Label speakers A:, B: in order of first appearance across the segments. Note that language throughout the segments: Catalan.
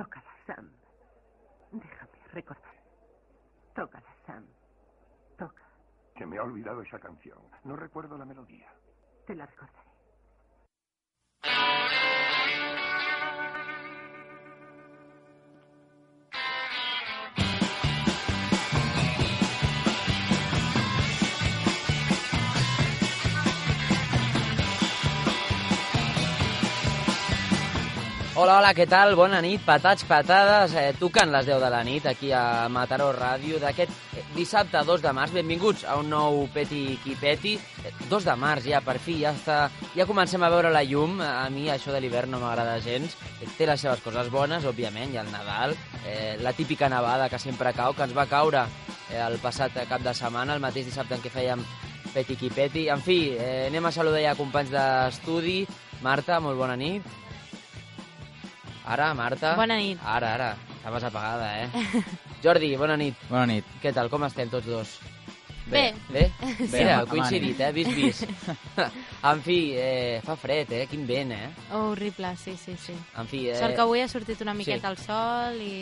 A: Tócala, Sam. Déjame recordar. Tócala, Sam. Toca.
B: Se me ha olvidado esa canción. No recuerdo la melodía.
A: Te la recordaré.
C: Hola, hola, què tal? Bona nit, patats, patades. Eh, toquen les 10 de la nit aquí a Mataró Ràdio d'aquest eh, dissabte 2 de març. Benvinguts a un nou Peti qui peti. Eh, 2 de març ja, per fi, ja està... Ja comencem a veure la llum. A mi això de l'hivern no m'agrada gens. Eh, Té les seves coses bones, òbviament, i el Nadal. Eh, la típica nevada que sempre cau, que ens va caure eh, el passat cap de setmana, el mateix dissabte en què fèiem Peti qui peti. En fi, eh, anem a saludar ja companys d'estudi. Marta, molt bona nit. Ara, Marta.
D: Bona nit.
C: Ara, ara. Estaves apagada, eh? Jordi, bona nit.
E: Bona nit.
C: Què tal? Com estem tots dos?
D: Bé.
C: Bé?
E: Sí.
C: Mira,
E: Amb- amb
C: coincidit, eh? Vis, vis. en fi, eh, fa fred, eh? Quin vent, eh?
D: Oh, horrible, sí, sí, sí.
C: En fi, eh...
D: Sort que avui ha sortit una miqueta
C: sí.
D: el sol i...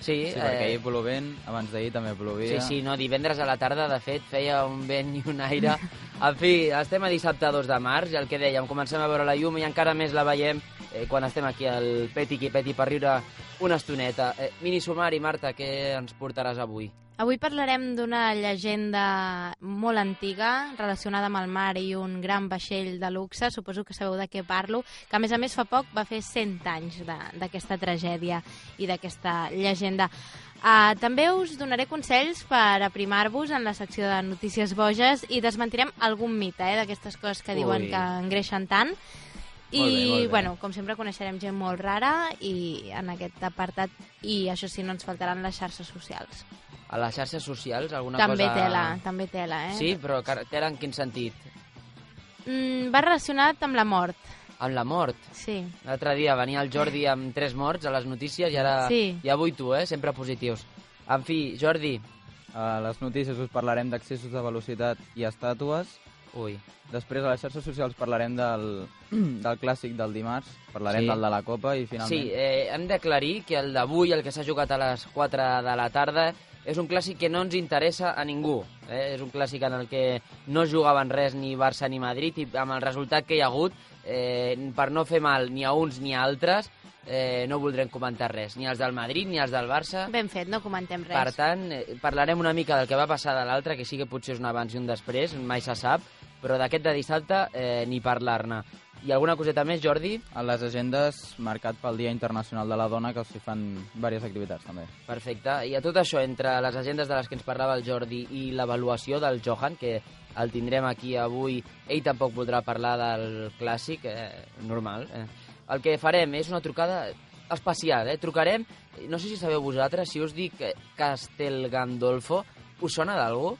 C: Sí,
E: Sí, perquè ahir plovent, abans d'ahir també
C: Sí,
E: plovia.
C: eh, sí, no, divendres a la tarda, de fet, feia un vent i un aire. En fi, estem a dissabte 2 de març, i el que dèiem, comencem a veure la llum i encara més la veiem eh, quan estem aquí al Peti qui Peti per riure una estoneta. Eh, mini sumari, Marta, què ens portaràs avui?
D: Avui parlarem d'una llegenda molt antiga relacionada amb el mar i un gran vaixell de luxe, suposo que sabeu de què parlo, que a més a més fa poc va fer 100 anys de- d'aquesta tragèdia i d'aquesta llegenda. Uh, també us donaré consells per aprimar-vos en la secció de notícies boges i desmentirem algun mite eh, d'aquestes coses que diuen
C: Ui.
D: que engreixen tant.
C: Molt
D: I,
C: bé, molt bé.
D: bueno, com sempre, coneixerem gent molt rara i en aquest apartat, i això sí, no ens faltaran les xarxes socials.
C: A les xarxes socials, alguna
D: També
C: cosa...
D: tela, també tela, eh?
C: Sí, però car- tela en quin sentit?
D: Mm, va relacionat amb la mort,
C: Amb la mort.
D: sí.
C: L'altre dia venia el Jordi amb tres morts a les notícies i ara...
D: Sí.
C: I avui tu, eh? Sempre positius. En fi, Jordi...
E: Eh, A les notícies us parlarem d'accessos de velocitat i estàtues.
C: Ui,
E: Després a les xarxes socials parlarem del, del clàssic del dimarts, parlarem
C: Sí.
E: del de la Copa i finalment...
C: Sí, eh, hem d'aclarir que el d'avui, el que s'ha jugat a les 4 de la tarda, és un clàssic que no ens interessa a ningú. Eh? És un clàssic en el que no es jugaven res ni Barça ni Madrid i amb el resultat que hi ha hagut, eh, per no fer mal ni a uns ni a altres, eh, no voldrem comentar res, ni els del Madrid ni els del Barça.
D: Ben fet, no comentem res.
C: Per tant, eh, parlarem una mica del que va passar de l'altre, que sí que potser és un abans i un després, mai se sap, però d'aquest de dissabte eh, ni parlar-ne. I alguna coseta més, Jordi?
E: A les agendes, marcat pel Dia Internacional de la Dona, que s'hi fan diverses activitats, també.
C: Perfecte. I a tot això, entre les agendes de les que ens parlava el Jordi i l'avaluació del Johan, que el tindrem aquí avui, ell tampoc voldrà parlar del clàssic, eh, normal. Eh. El que farem és una trucada especial, eh? Trucarem, no sé si sabeu vosaltres, si us dic eh, Castel Gandolfo, us sona d'algú?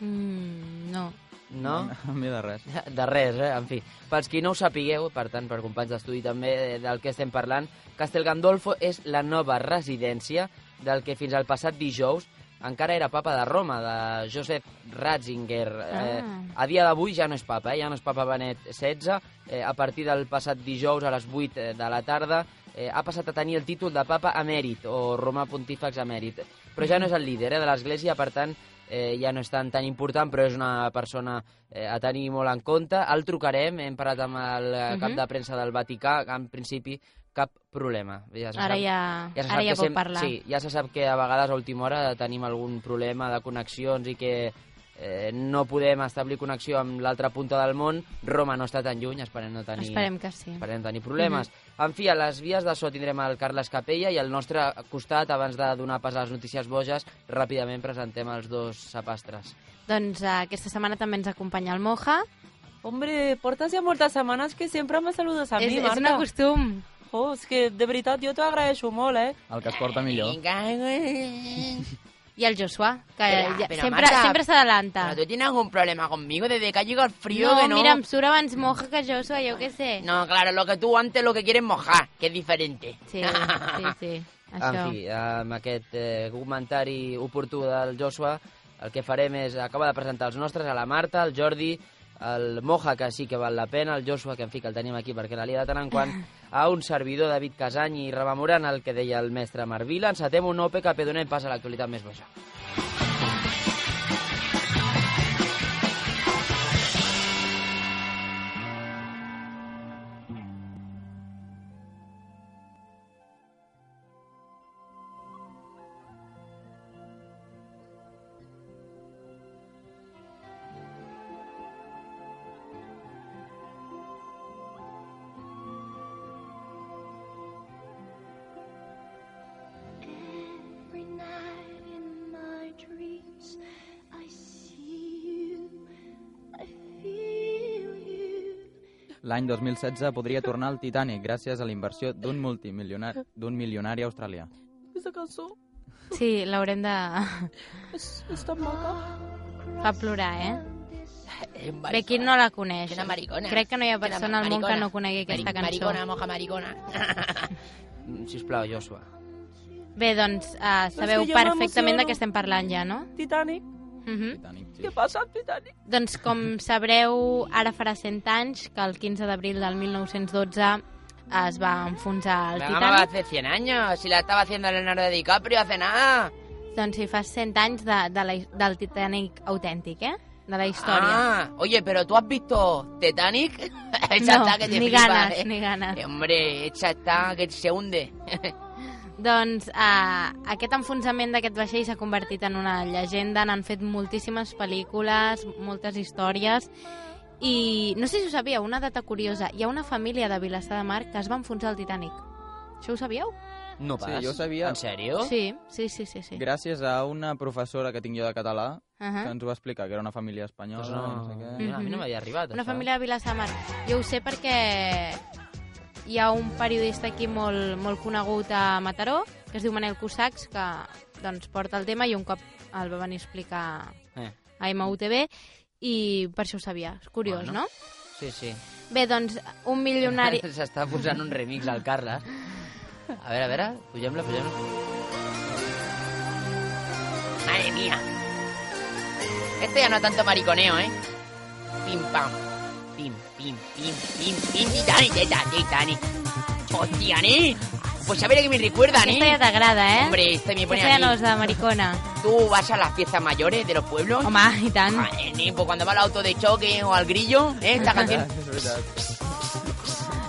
D: Mm, no.
C: No?
E: A mi de res.
C: De res, eh? En fi. Pels qui no ho sapigueu, per tant, per companys d'estudi també eh, del que estem parlant, Castel Gandolfo és la nova residència del que fins al passat dijous encara era papa de Roma, de Josep Ratzinger. Eh,
D: Ah.
C: a dia d'avui ja no és papa, eh? ja no és papa Benet XVI. Eh, a partir del passat dijous a les 8 eh, de la tarda eh, ha passat a tenir el títol de papa emèrit o Romà Pontífex emèrit. Però ja no és el líder eh, de l'Església, per tant, eh, ja no és tan, tan important, però és una persona eh, a tenir molt en compte. El trucarem, hem parlat amb el eh, cap
D: Mhm.
C: de premsa del Vaticà, en principi cap problema. Ja se
D: Ara
C: sap-
D: ja,
C: ja se sap
D: ara ja
C: que
D: pot
C: sem-
D: parlar.
C: Sí, ja se sap que a vegades a última hora tenim algun problema de connexions i que eh, no podem establir connexió amb l'altra punta del món. Roma no està tan lluny, esperem no tenir,
D: Esperem Mhm. que sí.
C: esperem tenir problemes. En fi, a les vies de so tindrem el Carles Capella i al nostre costat, abans de donar pas a les notícies boges, ràpidament presentem els dos sapastres.
D: Doncs eh, aquesta setmana també ens acompanya el Moja.
F: Hombre, portes ja moltes setmanes que sempre me saludes a
D: és,
F: mi,
D: és
F: Marta.
D: un acostum.
F: Oh, és que de veritat jo t'ho agraeixo molt, eh?
E: El que es porta millor.
D: I el Joshua, que
G: Espera,
D: ja,
G: però
D: sempre,
G: Marta,
D: sempre s'adalanta.
G: Pero tú tienes algún problema conmigo desde que ha llegado el frío
D: Ah. No,
G: que no.
D: mira, em surt abans Moja que Joshua, jo què sé.
G: No, claro, lo que tú antes lo que quieres mojar, que es diferente.
D: Sí, sí, sí. Això.
C: En fi, amb aquest eh, comentari oportú del Joshua, el que farem és acabar de presentar els nostres a la Marta, el Jordi, el Moja, que sí que val la pena, el Joshua, que en fi, que el tenim aquí perquè la lia de tant en quant, a un servidor, David Casany i rememorant el que deia el mestre Marvila, encetem un OPE que donem pas a l'actualitat més boja.
H: Every night in my dreams, I see you, I feel you.
E: L'any 2016 podria tornar al Titanic gràcies a la inversió d'un multimilionari, d'un milionari australià.
F: Esta cançó
D: Sí, l'haurem de...
F: és, és tan maca.
D: Fa plorar, eh?
G: Es un
D: Bé, qui
G: Eh, maricona.
D: no la coneix?
G: És una maricona.
D: Crec que no hi ha
G: És una
D: persona al món que
G: maricona.
D: no conegui aquesta
G: Mari-
D: cançó.
G: Maricona, moja maricona.
C: Mm, Sisplau, Joshua.
D: Bé, doncs uh, sabeu
F: jo
D: perfectament
F: m'emociono.
D: de què estem parlant ja, no?
F: Titanic.
D: Mhm.
E: Titanic, sí.
F: Què passa, Titanic?
D: Doncs com sabreu, ara farà 100 anys que el 15 d'abril del 1912 es va enfonsar el
G: La gama va
D: Titanic.
G: hace 100 años, si la estaba haciendo Leonardo DiCaprio hace nada.
D: Doncs si fa 100 anys de, de la, del Titanic autèntic, eh? De la història.
G: Ah, oye, pero tú has visto Titanic? Esa
D: no,
G: está que te
D: ni
G: flipa,
D: ganes,
G: eh.
D: ni ganes.
G: Eh, Hombre, esa está que se hunde.
D: Doncs eh, aquest enfonsament d'aquest vaixell s'ha convertit en una llegenda, n'han fet moltíssimes pel·lícules, moltes històries, i no sé si ho sabia, una data curiosa, hi ha una família de Vilassar de Mar que es va enfonsar el Titanic. Això ho sabíeu?
C: No
E: Sí,
C: pas.
E: jo sabia.
C: En sèrio?
D: Sí, sí, sí, sí. sí.
E: Gràcies a una professora que tinc jo de català,
D: Uh
E: que ens ho va explicar, que era una família espanyola,
C: Doncs no,
E: pues no. no sé què...
C: mira, a mi no
D: Mhm.
C: m'havia arribat,
D: Una
C: això.
D: família de Vilassar de Mar. Jo ho sé perquè hi ha un periodista aquí molt, molt conegut a Mataró, que es diu Manel Cossacks, que doncs, porta el tema i un cop el va venir a explicar
C: Eh.
D: a MUTV i per això ho sabia. És curiós,
C: Bueno.
D: bueno. no?
C: Sí, sí.
D: Bé, doncs, un milionari...
C: S'està posant un remix al Carles. A veure, a veure, pugem-la, pugem-la.
G: Madre mía. Este ya no tanto mariconeo, ¿eh? Pim pam. Pim, pim, pim, pim, pim. Titanic, teta, Titanic. Hostia, ¿eh? Pues a ver a qué me recuerdan,
D: Aquesta ja
G: ¿eh?
D: t'agrada, eh?
G: Hombre, este me pone
D: Aquesta ja
G: a
D: no
G: mí.
D: és de maricona.
G: Tú vas a las fiestas mayores de los pueblos.
D: Home, i tant.
G: Ah, eh, nen, pues cuando va al auto de choque o al grillo, ¿eh? Esta canción.
E: És veritat.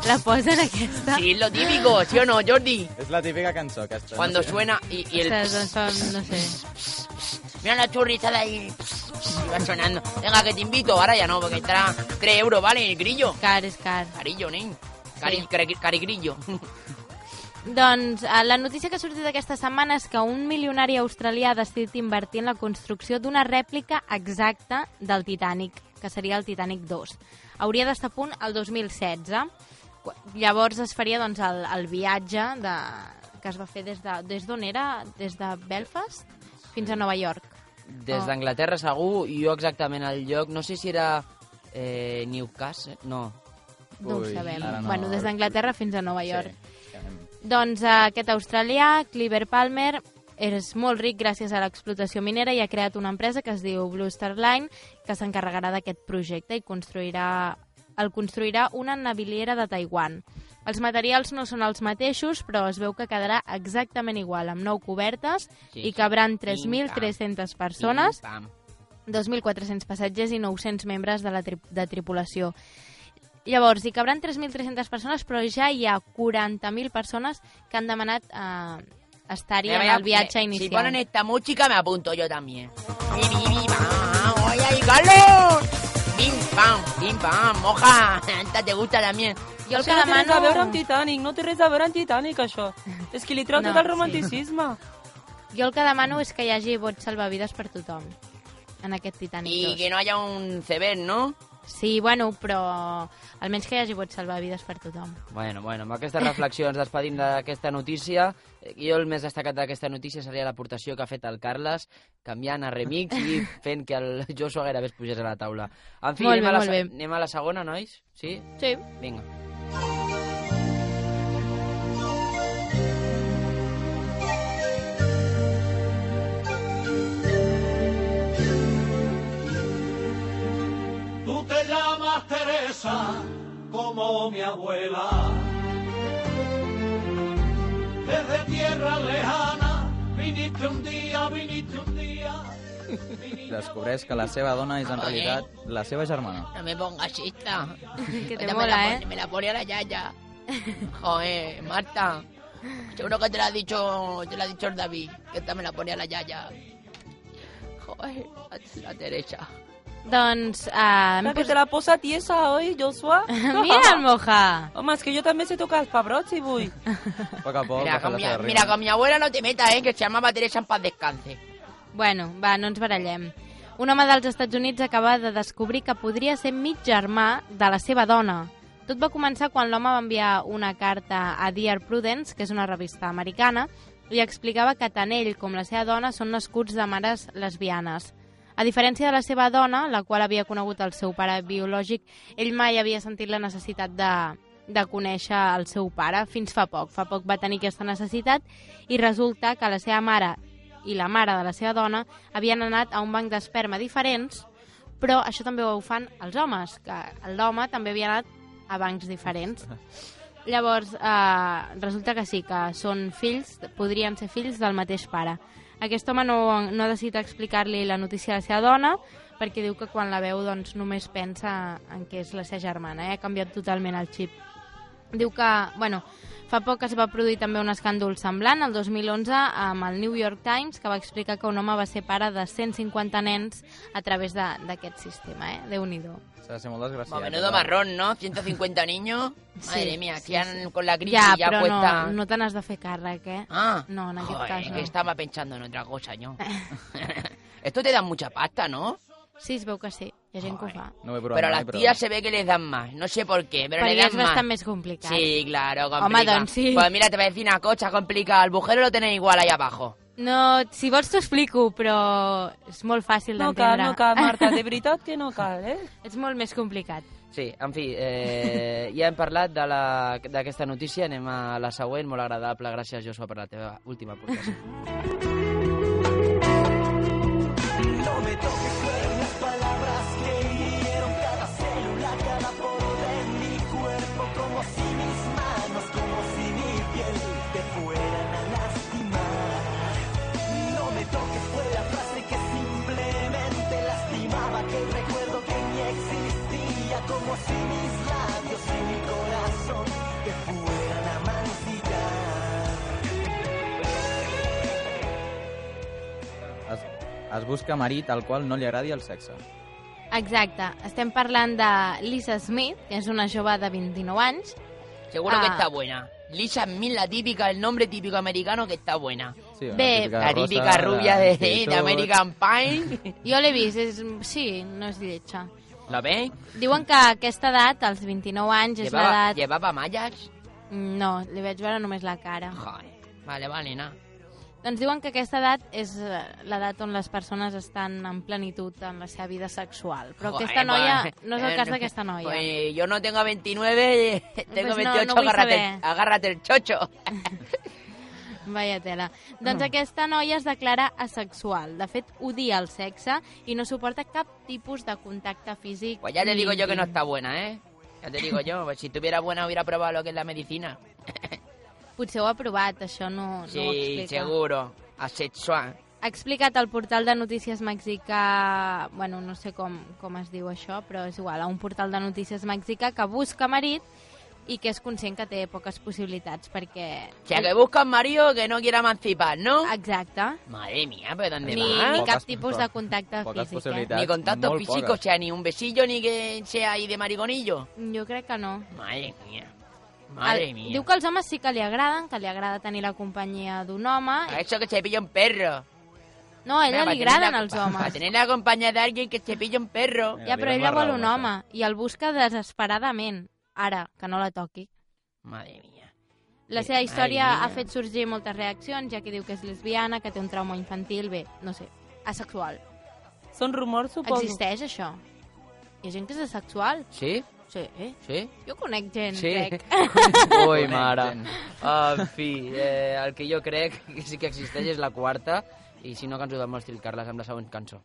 D: La posen aquesta.
G: Sí, es lo típico, ¿sí o no, Jordi?
E: És la típica cançó, aquesta.
G: Cuando
E: no sé.
G: suena y, y el...
D: Ostres, doncs, fa- no sé.
G: Mira la churrizada ahí. Y va sonando. Venga, que te invito. Ahora ya no, porque estará 3 euros, ¿vale? El grillo.
D: Car és car.
G: Carillo, nen. Cari,
D: Sí.
G: cari, carigrillo.
D: Doncs eh, la notícia que ha sortit aquesta setmana és que un milionari australià ha decidit invertir en la construcció d'una rèplica exacta del Titanic, que seria el Titanic 2. Hauria d'estar a punt el 2016. Qu- Llavors es faria doncs, el, el viatge de, que es va fer des de... Des d'on era? Des de Belfast fins a Nova York.
C: Des
D: Oh.
C: d'Anglaterra, segur, i jo exactament al lloc, no sé si era eh, Newcastle, no,
D: No
E: Ui,
D: ho sabem.
E: ara no.
D: Bueno, des d'Anglaterra fins a Nova York.
E: Sí.
D: Doncs eh, aquest australià, Cliver Palmer, és molt ric gràcies a l'explotació minera i ha creat una empresa que es diu Blue Star Line que s'encarregarà d'aquest projecte i construirà el construirà una naviliera de Taiwan. Els materials no són els mateixos, però es veu que quedarà exactament igual, amb nou cobertes
G: Sí,
D: i cabran
G: sí.
D: 3.300 persones,
G: Pim, pam.
D: 2.400 passatgers i 900 membres de la tri de tripulació. Llavors, hi cabran 3.300 persones, però ja hi ha 40.000 persones que han demanat eh, estar-hi
G: Mira,
D: en
G: vaya,
D: el viatge
F: eh,
G: me- Si
D: inicial.
G: ponen esta música, me apunto yo también. Bi, bi, bi, pam. ¡Oye, ahí, Carlos! Pim, pam, pim, pam, moja. Esta te gusta también.
D: Jo el
F: Això
D: que
F: no té res a veure
D: demano...
F: amb Titanic, no té res a veure amb Titanic, això. És que li treu
D: No,
F: tot el
D: sí.
F: romanticisme.
D: Jo el que demano és que hi hagi vots salvavides per tothom en aquest
G: Y
D: Titanic 2.
G: que no haya un ceber, ¿no?
D: Sí, bueno, però almenys que hi hagi vots salvavides per tothom.
C: Bueno, bueno, amb aquestes reflexions despedim d'aquesta notícia. Eh, Jo el més destacat d'aquesta notícia seria l'aportació que ha fet el Carles, canviant a remix i fent que el Joshua gairebé es pugés a la taula. En fi,
D: Molt
C: anem,
D: bé,
C: a la,
D: molt
C: se-
D: bé.
C: anem a la segona, nois? Sí?
D: Sí.
C: Vinga.
I: Tutela cabeza como mi abuela. Desde tierra lejana viniste un día, viniste un día.
E: Descobreix que la seva dona és en realitat la seva germana.
G: No me pongas esta.
D: Que
G: Esta
D: te
G: me la
D: mola,
G: pone-
D: ¿eh?
G: Me la pone a la yaya. Joder, Marta. Seguro que te la ha dicho, te la ha dicho el David, que esta me la pone a la yaya. Joder, la- la Teresa.
D: Doncs... Uh,
F: La que te la posa tiesa hoy, Joshua.
D: Mira el Moja!
F: Home, és que jo també sé tocar els pebrots si vull.
E: A poc a poc,
G: Mira,
E: va fer
G: con
E: la
G: mi,
E: seva
G: mira,
E: rima.
G: con mi abuela no te metas, eh, que se llamaba Teresa en paz descanse.
D: Bueno, va, no ens barallem. Un home dels Estats Units acaba de descobrir que podria ser mig germà de la seva dona. Tot va començar quan l'home va enviar una carta a Dear Prudence, que és una revista americana, i explicava que tant ell com la seva dona són nascuts de mares lesbianes. A diferència de la seva dona, la qual havia conegut el seu pare biològic, ell mai havia sentit la necessitat de, de conèixer el seu pare fins fa poc. Fa poc va tenir aquesta necessitat i resulta que la seva mare i la mare de la seva dona havien anat a un banc d'esperma diferents, però això també ho fan els homes, que l'home també havia anat a bancs diferents. Llavors, eh, resulta que sí, que són fills, podrien ser fills del mateix pare. Aquest home no, no ha decidit explicar-li la notícia a la seva dona, perquè diu que quan la veu doncs, només pensa en que és la seva germana, eh? ha canviat totalment el xip. Diu que, bueno, fa poc es va produir també un escàndol semblant, el 2011, amb el New York Times, que va explicar que un home va ser pare de 150 nens a través de- d'aquest sistema, eh? Déu-n'hi-do.
E: S'ha de ser molt desgraciat.
G: Como menudo
E: eh?
G: marrón, ¿no? 150 niños. Madre
D: Sí,
G: mía,
D: sí,
G: que han con la crisis
D: Ja,
G: ya,
D: però
G: cuesta.
D: no, no te n'has de fer càrrec, eh?
G: Ah,
D: No, en aquest
G: joder,
D: cas no.
G: que estaba pensando en otra cosa, yo. Esto te da mucha pasta, ¿no?
D: Sí, es veu que sí, hi ha gent que ho fa.
E: No ho he
G: Pero,
E: provat
G: a
E: mai,
G: las
E: però...
G: tías se ve que les dan más. No sé por qué, pero
D: Perquè
G: le
D: és
G: dan más.
D: bastant més complicat.
G: Sí, claro, complica.
D: doncs sí.
G: Pues mira, te voy a decir una cosa complicada. El bujero lo tenéis igual ahí abajo.
D: No, si vols t'ho explico, però és molt fàcil
F: No cal,
D: d'entendre.
F: no cal, Marta, de veritat que no cal, eh?
D: És molt més complicat.
C: Sí, en fi, eh, ja hem parlat de la- d'aquesta notícia, anem a la següent, molt agradable, gràcies Joshua per la teva última aportació.
E: Es, es busca marit al qual no li agradi el sexe.
D: Exacte, estem parlant de Lisa Smith, que és una jove de 29 anys.
G: Seguro que
D: Ah.
G: está buena. Lisa Smith, la típica, el nombre típico americano que está buena.
E: Sí, una
D: Bé,
G: La
E: rossa,
G: típica rubia de, de
E: actitud.
G: American Pie.
D: Jo l'he vist, és... sí, no és lletja.
G: ¿Lo veis?
D: Diuen que a aquesta edat, als 29 anys, és
G: Llevaba,
D: l'edat...
G: llevaba mallas.
D: No, li vaig veure només la cara.
G: Joder. Vale, vale, nada.
D: Doncs diuen que aquesta edat és eh, l'edat on les persones estan en plenitud en la seva vida sexual. Però
G: Joder,
D: aquesta noia
G: pues,
D: no és el
G: eh,
D: cas d'aquesta noia.
G: Pues yo no tengo 29, tengo
D: Pues no, no
G: 28,
D: vull
G: agárrate,
D: saber.
G: agárrate el chocho.
D: Vaya tela. Doncs aquesta noia es declara asexual. De fet, odia el sexe i no suporta cap tipus de contacte físic.
G: Pues ya te
D: ni
G: digo yo que no
D: íntim.
G: está buena, ¿eh? Ya te digo yo, pues si estuviera buena hubiera probado lo que es la medicina.
D: Pues Potser ho ha provat, això no, no ho
G: Sí,
D: explica.
G: seguro. Asexual.
D: Ha explicat al portal de notícies mexicà, bueno, no sé com, com es diu això, però és igual, a un portal de notícies mexicà que busca marit i que és conscient que té poques possibilitats perquè...
G: O sea, que busca un marido que no quiera emancipar, ¿no?
D: Exacte.
G: Madre mía, pero ¿dónde
D: Ni,
G: va?
D: ni cap
E: Poques-
D: tipus de contacte
E: poques
D: físic, eh?
E: possibilitats.
G: Ni contacto
E: Muy
G: físico,
E: pocas.
G: o sea, ni un besillo, ni que sea ahí de mariconillo.
D: Jo crec que no.
G: Madre mía. Madre
D: El-
G: mía.
D: Diu que els homes sí que li agraden, que li agrada tenir la companyia d'un home.
G: A eso que se pilla un perro.
D: No, a ella
G: Mira,
D: li
G: para tener
D: agraden
G: la-
D: els
G: Para
D: homes.
G: tener la compañía de alguien que se pilla un perro.
E: Mira,
D: Ja,
E: li
D: però
E: dono
D: ella
E: la
D: vol
E: raó,
D: un
E: això.
D: home i el busca desesperadament. Ara, que no la toqui.
G: Madre mía.
D: La
G: Eh,
D: seva història
G: madre mía.
D: ha fet sorgir moltes reaccions, ja que diu que és lesbiana, que té un trauma infantil, bé, no sé, asexual.
F: Són rumors, suposo.
D: Existeix això? Hi ha gent que és asexual?
C: Sí?
D: Sí, eh?
C: Sí?
D: Jo conec gent,
C: Sí.
D: crec.
C: Ui, mare. En fi, eh, el que jo crec que sí que existeix és la quarta, i si no que ens ho demostri el Carles amb la següent cançó.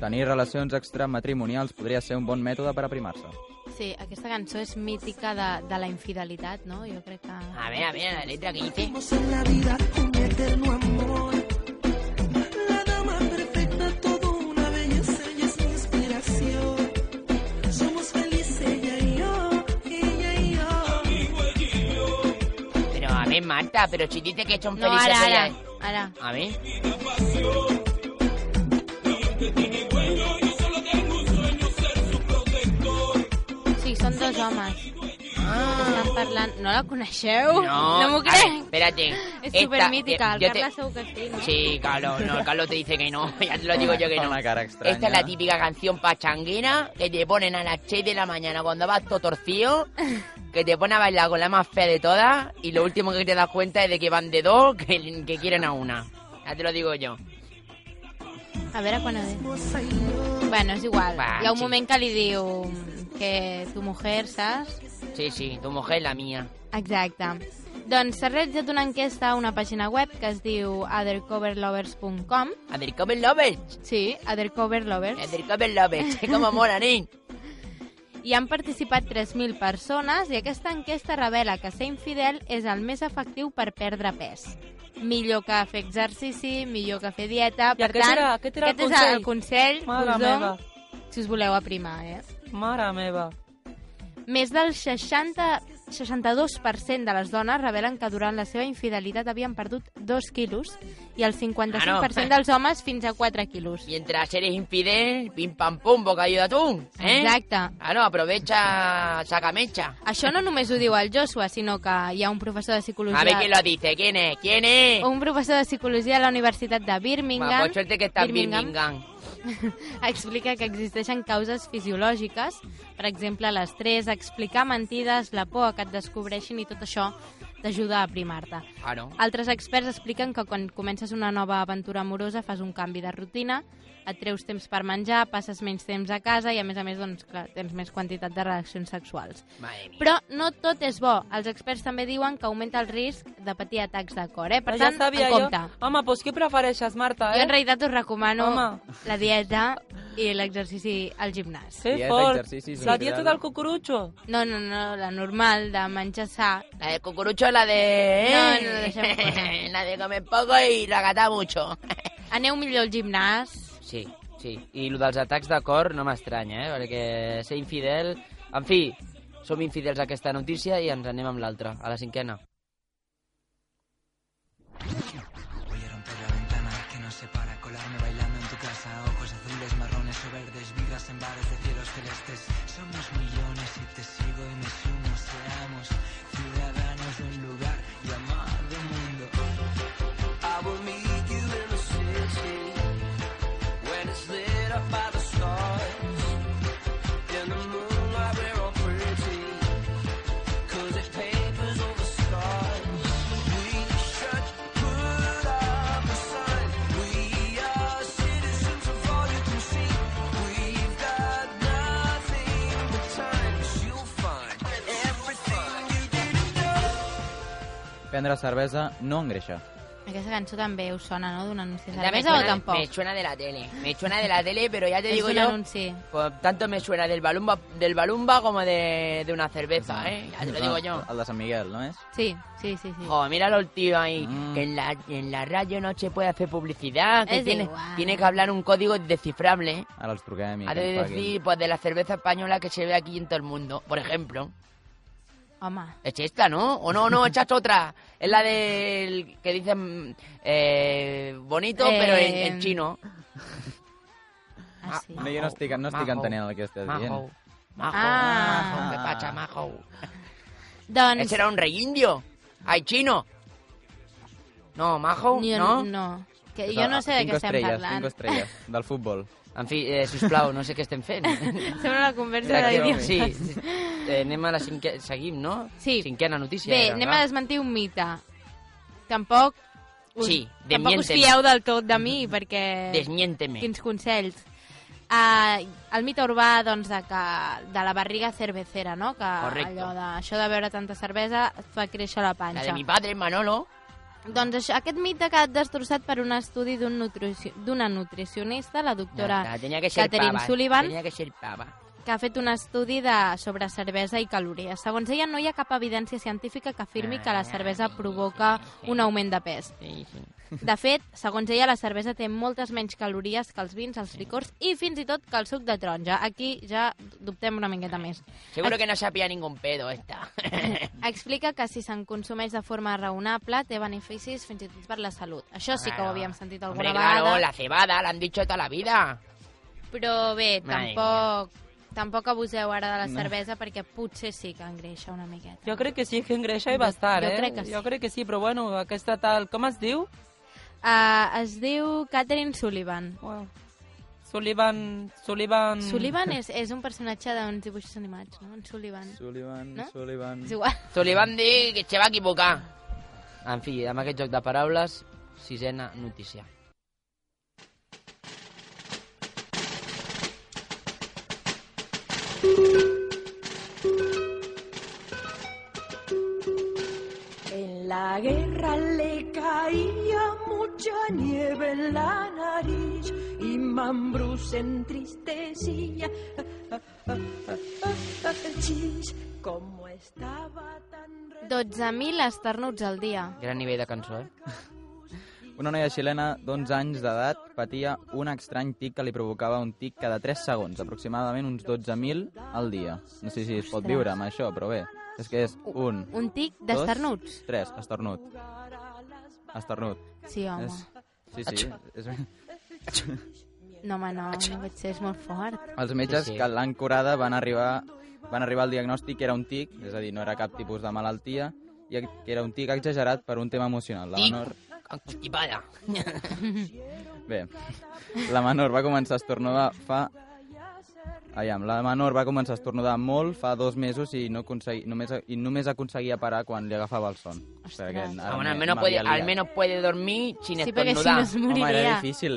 E: Tenir relacions extramatrimonials podria ser un bon mètode per aprimar-se.
D: Sí, aquesta cançó és mítica de, de la infidelitat, no? Jo crec que...
C: A ver, a ver, la letra que dice.
G: en la vida un eterno amor. La dama perfecta, todo una belleza, ella es mi inspiración. Somos felices, ella y yo, ella y yo.
C: Pero a ver, Marta, pero si dice que son
D: No,
C: felices
D: ara, ara,
C: ellas-
D: ara.
C: A ver.
D: Sí, són dos homes.
C: Ah.
D: Estan parlant... No la coneixeu?
C: No,
D: no m'ho
C: a ver,
D: crec.
C: espérate.
D: És
C: Esta-
D: supermítica. El
C: yo te-
D: Carles segur que sí, no?
C: Sí, Carlos, no, Carlos te dice que no, ya te lo digo yo que
E: Con
C: no.
E: la cara extraña.
C: Esta es la típica canción pachanguera que te ponen a las 6 de la mañana cuando vas todo torcido, que te pone a bailar con la más fea de todas y lo último que te das cuenta es de que van de dos que, que quieren a una. Ya te lo digo yo.
D: A veure quan ho diu. Bueno, és igual.
C: Va,
D: Hi ha un
C: sí.
D: moment que li diu que tu mujer, saps?
C: Sí, sí, tu mujer es la mía.
D: Exacte. Doncs s'ha realitzat una enquesta a una pàgina web que es diu othercoverlovers.com
C: Undercover Lovers,
D: Sí, othercoverlovers.
C: Undercover Lovers, que como molan, ¿eh?
D: Hi han participat 3.000 persones i aquesta enquesta revela que ser infidel és el més efectiu per perdre pes. Millor que fer exercici, millor que fer dieta...
F: I aquest era- aquest era el
D: aquest és el consell que
F: Mare
D: us dono,
F: meva,
D: si us voleu aprimar, eh?
F: mare meva.
D: Més del 60, 62% de les dones revelen que durant la seva infidelitat havien perdut 2 quilos i el 55%
C: Ah, no.
D: dels homes fins a 4 quilos.
C: Mientras eres infidel, pim pam pum, bocadillo de atún, ¿eh?
D: Exacte.
C: Ah, no, aprovecha, saca mecha.
D: Això no només ho diu el Joshua, sinó que hi ha un professor de psicologia...
C: A ver quién lo dice, ¿quién es? ¿Quién es?
D: un professor de psicologia de la Universitat de
C: Bueno,
D: Birmingham
C: por suerte que está en Birmingham.
D: explica que existeixen causes fisiològiques, per exemple l'estrès, explicar mentides, la por a que et descobreixin i tot això t'ajuda a aprimar-te.
C: Ah, no.
D: Altres experts expliquen que quan comences una nova aventura amorosa fas un canvi de rutina, et treus temps per menjar, passes menys temps a casa i a més a més doncs, clar, tens més quantitat de relacions sexuals.
C: Madre mía.
D: Però no tot és bo. Els experts també diuen que augmenta el risc de patir atacs de cor, eh? Per
F: ja
D: tant,
F: sabia
D: en
F: jo.
D: compte.
F: Home, doncs què prefereixes, Marta,
D: Jo
F: eh?
D: en realitat us recomano
F: Home.
D: la dieta i l'exercici al gimnàs.
F: Fer
E: Dieta,
F: fort.
E: exercicis,
F: La
E: un
F: dieta
E: cuidado.
F: del cucurutxo.
D: No, no, no, la normal, de menjar sa.
C: La de cucurucho es la de... eh,
D: No, no, dejemos cosas.
C: la de comer poco y racatar mucho.
D: Aneu millor al gimnàs.
J: Sí, sí. I el dels atacs de cor no m'estranya, eh? Perquè ser infidel... En fi, som infidels a aquesta notícia i ens anem amb l'altra, a la cinquena.
G: Voy a romper la ventana que nos separa, colarme bailando en tu casa, ojos azules, marrones o verdes, vibras en bares de cielos celestes. Somos millones y te sigo y me sumo, seamos ciudadanos de un lugar llamado mundo. I will meet you in the city when it's lit up by the stars. In the moonlight we're all pretty, 'cause there's papers over scars. We should put up a sign. We are citizens of all you can see. We've got nothing but time. 'Cause You'll find everything you didn't know.
E: Prendre cervesa no engreixa.
D: Aquesta cançó també us sona, no?, d'un anunci de
C: Ya me
D: cervesa o
C: suena, me
D: tampoc?
C: suena de la tele. Me suena de la tele, pero ya te
D: És
C: digo
D: un
C: yo...
D: anunci.
C: pues, tanto me suena del balumba, del balumba como de, de una cerveza, ¿eh? Ya te lo digo yo.
E: El de Sant Miguel, no és?
D: Sí, sí, sí, sí.
C: Joder, Oh, mira los tíos ahí.
E: Mm.
C: Que en la, en la radio no se puede hacer publicidad. Que
D: Es
C: tiene,
D: igual.
C: tiene que hablar un código descifrable.
E: Ara els truquem i
C: Ha
E: que
C: de
E: ens paguin.
C: decir, pues, de la cerveza española que se ve aquí en todo el mundo. Por ejemplo.
D: Home,
C: Es esta, ¿no? O no, no, esta es otra. Es la del que dicen eh, bonito,
D: Eh,
C: pero en, en chino.
D: ah, sí.
E: No, jo no estic, no estic
C: Majo.
E: entenent el que estàs dient.
C: Majo. Majo,
D: Ah.
C: majo, ¿qué pasa, majo?
D: Doncs...
C: Ese era un rey indio. Ay, chino. No, majo,
D: ni-
C: ¿no?
D: No. Que jo no sé de
E: Cinco
C: eh,
D: què estem
E: estrelles,
D: parlant.
E: Cinco estrelles, del futbol.
K: En fi, eh, sisplau, no sé què estem fent.
D: Sembla una conversa
K: Crec que-
D: d'idiots.
K: Sí, eh, anem a la cinquena... Seguim, no?
D: Sí.
K: Cinquena notícia.
D: Bé,
K: era,
D: anem
K: va.
D: a desmentir un mite. Tampoc us,
C: Sí,
D: tampoc us
C: desmiénteme.
D: fieu del tot de mi, perquè...
C: Desmiénteme.
D: Quins consells. Uh, el mite urbà, doncs, de, que, de la barriga cervecera, no? Que
C: Correcte.
D: allò de, això de beure tanta cervesa et fa créixer
C: La
D: la panxa.
C: de mi padre, Manolo.
D: Doncs això, aquest mite ha quedat destrossat per un estudi d'un nutrici- d'una nutricionista, la doctora,
C: Nada, tenía Doncs que ser
D: Catherine
C: pava.
D: Sullivan.
C: Tenía que ser pava.
D: que ha fet un estudi de, sobre cervesa i calories. Segons ella, no hi ha cap evidència científica que afirmi
C: Ah,
D: que la cervesa provoca un augment de pes.
C: Sí, sí.
D: De fet, segons ella, la cervesa té moltes menys calories que els vins, els licors i fins i tot que el suc de taronja. Aquí ja dubtem una miqueta més.
C: Seguro que no sabía ningún pedo esta.
D: Explica que si se'n consumeix de forma raonable té beneficis fins i tot per la salut. Això sí que ho
C: Claro.
D: havíem sentit
C: Hombre,
D: alguna
C: claro,
D: vegada.
C: la cebada, la han dicho toda la vida.
D: Però bé,
C: Madre
D: tampoc, tampoc abuseu ara de la
E: No.
D: cervesa perquè potser sí que engreixa una miqueta.
F: Jo crec que sí, que engreixa i bastant,
D: Jo
F: eh?
D: crec que sí.
F: Jo crec que sí, però bueno, aquesta tal... Com es diu?
D: Uh, es diu Catherine Sullivan.
F: Uau. Sullivan... Sullivan...
D: Sullivan és, és un personatge d'uns dibuixos animats, no? En Sullivan.
E: Sullivan,
D: No?
E: Sullivan...
D: És igual.
C: Sullivan di que se va a equivocar.
K: En fi, amb aquest joc de paraules, sisena notícia.
L: En la guerra le caía mucha nieve en la nariz y Mambrus se entristecía. Chis, Como estaba tan
D: 12.000 esternuts al dia.
K: Gran nivell de cançó, eh?
E: Una noia xilena d'11 anys d'edat patia un estrany tic que li provocava un tic cada 3 segons, aproximadament uns 12.000 al dia. No sé si es pot viure amb això, però bé, és que és un,
D: Un tic d'esternuts.
E: dos, tres, estornut. Estornut.
D: Sí, home.
E: És... Sí, sí. És...
D: No, home, no, no pot ser, és molt fort.
E: Els metges
K: Sí, sí.
E: que l'han curada van arribar, van arribar al diagnòstic que era un tic, és a dir, no era cap tipus de malaltia, i que era un tic exagerat per un tema emocional. La
C: Tic.
E: menor,
C: Constipada.
E: bé, la menor va començar a estornudar fa... Aviam, la menor va començar a estornudar molt fa dos mesos i, no aconsegui, només, i només aconseguia parar quan li agafava el son. O sigui que
D: Ostres.
E: ara
C: Aún al
E: m'he-
C: menos,
E: m'havia
C: puede, al
E: liat.
C: menos puede dormir sin
D: Sí, perquè si no
C: estornudar.
D: es
E: Home, era
D: moriria.
E: difícil.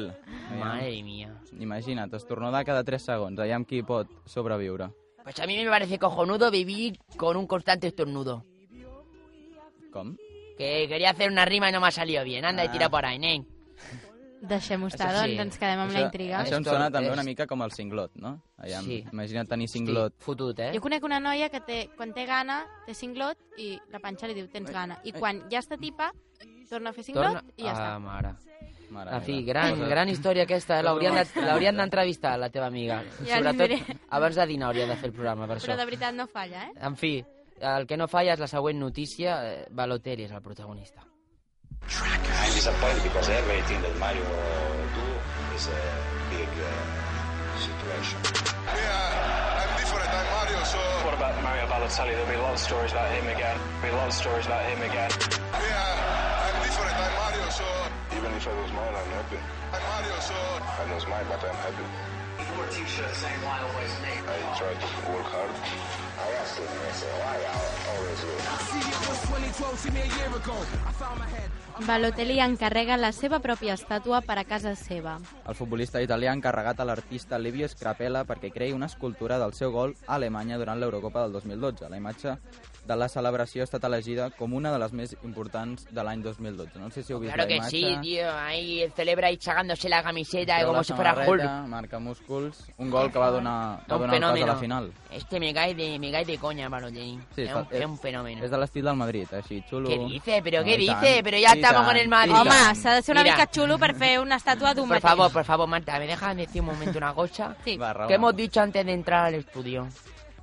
E: Aviam,
C: Madre mía.
E: Imagina't, estornudar cada 3 segons, aviam qui pot sobreviure.
C: Pues a mí me parece cojonudo vivir con un constante estornudo.
E: Com?
C: Que quería hacer una rima y no me ha salido bien. Anda, y tira por ahí, nen.
D: Deixem-ho estar,
C: Això sí.
D: doncs, ens quedem amb la intriga.
E: Això em
K: Estor-
E: sona també
K: est-
E: una mica com el cinglot, no? Aviam,
K: Sí.
E: sí. Imagina't tenir cinglot.
K: Estic fotut, eh?
D: Jo conec una noia que té, quan té gana, té cinglot i la panxa li diu tens gana. I quan ja està tipa, torna a fer cinglot
K: Torna-
D: i ja
K: Ah,
D: està.
K: mare.
E: Mare
K: En fi,
E: meva.
K: gran,
E: Cosa-
K: gran història aquesta, eh? L'haurien de- l'haurien d'entrevistar, la teva amiga.
D: Ja li
K: Sobretot,
D: diré.
K: abans de dinar hauria de fer el programa, per
D: Però
K: això.
D: de veritat no falla, eh?
K: En fi, el que no falla és la següent notícia. eh, Balotelli és el protagonista.
M: I'm disappointed because everything that Mario do is a big uh, situation. Yeah, uh, I'm different. I'm Mario, so. What about Mario Balotelli? There'll be a lot of stories about him again. There'll be a lot of stories about him again. Yeah, uh, I'm different. I'm Mario, so. Even if I lose mine, I'm happy. I'm Mario, so. I lose mine, but I'm happy. Your T-shirt saying I always make. I try to work hard. I asked him, I said, why I always win.
D: Balotelli encarrega la seva pròpia estàtua per a casa seva.
E: El futbolista italià ha encarregat a l'artista Livio Scrapella perquè creï una escultura del seu gol a Alemanya durant l'Eurocopa del 2012. La imatge de la celebració ha estat elegida com una de les més importants de l'any 2012. No sé si heu vist
C: Oh, Claro
E: la
C: que
E: imatge.
C: sí, tío. Ahí él celebra ahí sacándose la camiseta
E: Treu
C: como
E: la
C: si fuera Hulk.
E: samarreta, Marca músculs. Un gol que va donar, va
C: Un
E: donar el pas a
C: fenómeno.
E: la final.
C: Este me cae de, me cae de coña, Balotelli.
E: Sí,
C: es,
E: fa-
C: un, es un fenómeno.
E: És de l'estil del Madrid, així, xulo.
C: ¿Qué dice? ¿Pero
E: No,
C: qué
E: i tant,
C: dice? Pero ya
E: i
C: estamos
E: tant,
C: con el Madrid.
E: i
D: Home,
E: tant.
D: s'ha de ser una
C: Mira.
D: mica xulo per fer una estàtua d'un
C: Por
D: mateix.
C: favor, por favor, Marta, ¿me dejas decir un momento una cosa?
D: Sí.
E: Va, Raúl.
C: ¿Qué hemos dicho antes de entrar al estudio?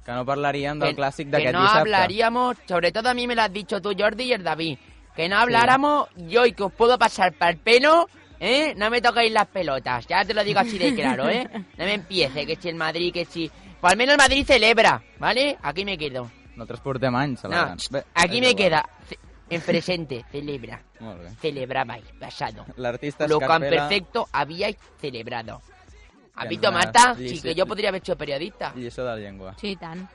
E: Que no parlaríem del
C: Que-
E: clàssic
C: que
E: d'aquest
C: no
E: dissabte.
C: hablaríamos, sobre todo a mí me lo has dicho tú, Jordi y el David, que no habláramos yo y que os puedo pasar para el pelo, ¿eh? No me toquéis las pelotas, ya te lo digo así de claro, ¿eh? No me empiece, que si el Madrid, que si... Pues al menos el Madrid celebra, ¿vale? Aquí me quedo.
E: Nosaltres portem anys
C: No,
E: celebrant. Bé,
C: aquí
E: és
C: me
E: igual.
C: queda. Ce- En presente, celebra.
E: Molt bé.
C: Celebrabais, pasado.
E: L'artista
C: Lo que en
E: Escarpela...
C: perfecto habíais celebrado.
G: ¿Has
E: Llen-
G: visto, Marta?
E: llis-
G: Chico, yo podría haver sido periodista.
E: Lliçó de la llengua.
D: Sí, i tant.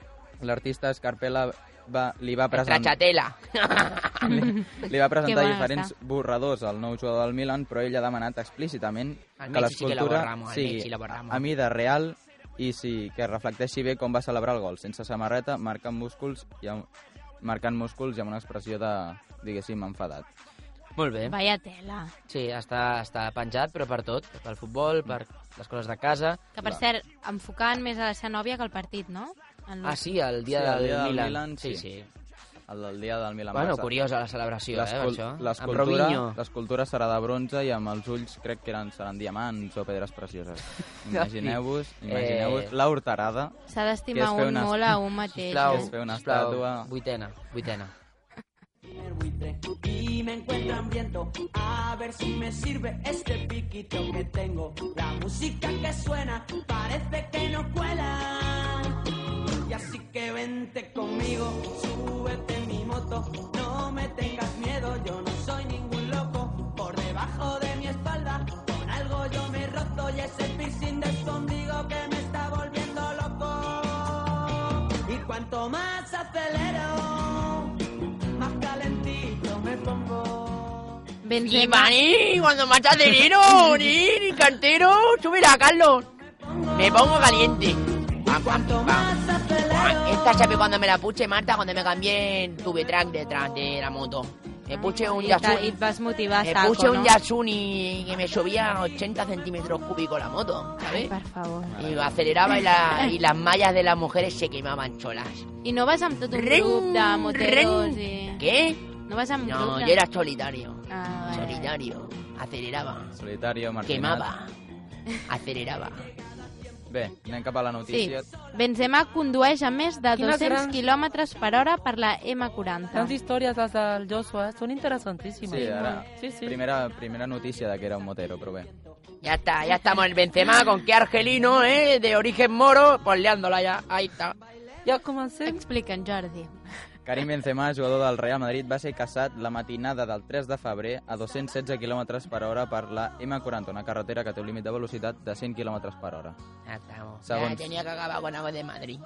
E: L'artista Escarpela va, li va presentar...
G: Trachatela.
E: Li, li va
G: Que
E: presentar
G: bona
E: diferents
G: està.
E: borradors al nou jugador del Milan, però ell ha demanat explícitament
G: Al
E: que
G: Messi sí que la
E: l'escultura
G: borramos, al Messi la borramos.
E: a mida real i sí, que reflecteixi bé com va celebrar el gol, sense samarreta, marcant músculs i amb, marcant músculs i amb una expressió de, diguéssim, enfadat.
C: Molt bé.
D: Vaya tela.
C: Sí, està, està penjat, però per tot. Pel futbol, per les coses de casa.
D: Que, per cert, enfocant més a la seva nòvia que al partit, no? En
C: Ah, sí, el dia,
E: Mm. Sí, el
C: del,
E: dia del
C: Milan.
E: Milan,
C: sí.
E: sí.
C: sí.
E: El del dia del Milan.
C: Bueno,
E: Barça.
C: curiosa la celebració, eh,
E: L'escul-
C: això. Amb
E: L'escultura
C: Robinho.
E: l'escultura serà de bronze i amb els ulls crec que eren, seran diamants o pedres precioses. Imagineu-vos imagineu
C: Eh.
E: eh... la horterada.
D: S'ha d'estimar
E: que es fer
D: un
E: una-
D: molt a un mateix.
E: Sisplau,
D: eh?
E: es fer una
C: sisplau,
E: estàtua.
C: Vuitena, vuitena.
L: y me encuentro hambriento. A ver si me sirve este piquito que tengo. La música que suena parece que no cuela. Y así que vente conmigo, súbete en mi moto. No me tengas miedo, yo no soy ningún loco. Por debajo de mi espalda, con algo yo me he roto. Y ese piercing de escondido que me está volviendo loco. Y cuanto más acelero, más calentito me pongo.
G: Y Mani, cuando más dinero, ni, ni eh, cantero, súbela, Carlos. Me pongo caliente. Pam, pam, pam. Pam. Esta chape cuando me la puse, Marta, cuando me cambié el tube track detrás de la moto. Me puse eh, un
D: I, ta- I
G: Yasuni.
D: et vas motivar
G: Me
D: saco,
G: puse
D: no?
G: un Yasuni que me subía a 80 centímetros cúbicos la moto,
D: Ai,
G: ¿sabes?
D: per favor.
G: Y aceleraba y, la- y las mallas de las mujeres se quemaban solas.
D: I no vas amb tot un
G: Ring,
D: grup de moteros i...
G: ¿Qué?
D: No vas amb
G: No,
D: grup de...
G: yo era solitario.
D: Ah, vale.
G: Solitario. Aceleraba.
E: Solitario, marginat.
G: Quemava. Acelerava.
E: Bé, anem cap a la
D: Sí.
E: notícia.
D: Benzema condueix a més de
F: Quines
D: 200
F: grans-
D: km per hora per la M40.
F: Grans històries les del Joshua, eh? són interessantíssimes.
E: Sí, ara,
F: Sí, sí.
E: Primera, primera notícia de que era un motero, però bé.
G: Ya está, ya estamos el Benzema con qué argelino, ¿eh? De origen moro, pues liándola ya. Ahí está.
F: Ja comencem.
D: Explica'ns, Jordi.
E: Karim Benzema, jugador del Real Madrid, va ser caçat la matinada del 3 de febrer a 216 km per hora per la M40, una carretera que té un límit de velocitat de 100 km per hora.
G: Ya estamos. Ya
E: Segons-
G: tenía que acabar con algo de Madrid.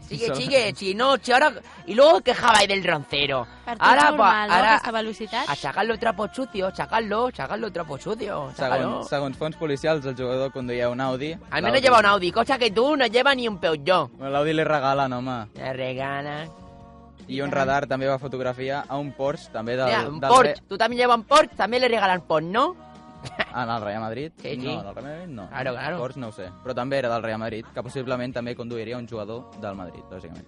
G: Sigue,
E: Segons-
G: sigue, si no, si ahora... Y luego os quejabais del roncero.
D: Per tu
G: Ahora,
D: normal,
G: pues,
D: no?
G: ahora,
D: Aquesta velocitat.
G: a sacarlo trapos sucios, sacarlo, sacarlo trapos sucios, sacarlo.
E: Segons, segons fons policials, el jugador conduïa un Audi.
G: Al menos lleva un Audi, cosa que tú no llevas ni un peugeot.
E: Bueno, L'Audi li regalen, home.
G: Te regala.
E: I un radar també va fotografiar a un Porsche, també del...
G: Mira, un
E: del
G: Porsche.
E: Re-
G: Tú también llevas un Porsche, también le regalan Porsche, ¿no?
E: Ah, no, al Real Madrid?
G: Sí, sí.
E: No, al Real Madrid no.
G: Claro, claro.
E: Porsche no ho sé. Però també era del Real Madrid, que possiblement també conduiria un jugador del Madrid, lògicament.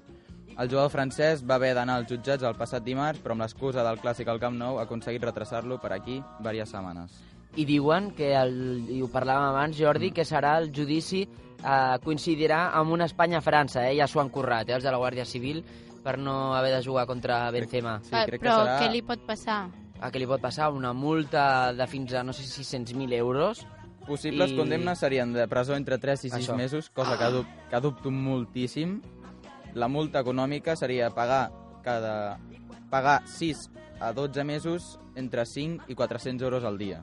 E: El jugador francès va haver d'anar als jutjats el passat dimarts, però amb l'excusa del clàssic al Camp Nou ha aconseguit retrasar-lo per aquí diverses setmanes.
C: I diuen que, el, i ho parlàvem abans, Jordi,
E: Mm.
C: que serà el judici eh, coincidirà amb una Espanya-França, eh? Ja s'ho han currat, eh, els de la Guàrdia Civil, per no haver de jugar contra Benzema.
D: Ah, Però què li pot passar?
C: A què li pot passar? Una multa de fins a, no sé, 600.000 euros.
E: Possibles I... condemnes serien de presó entre 3 i 6
C: Això.
E: mesos, cosa que, dub que dubto moltíssim. La multa econòmica seria pagar cada pagar 6 a 12 mesos entre 5 i 400 euros al dia.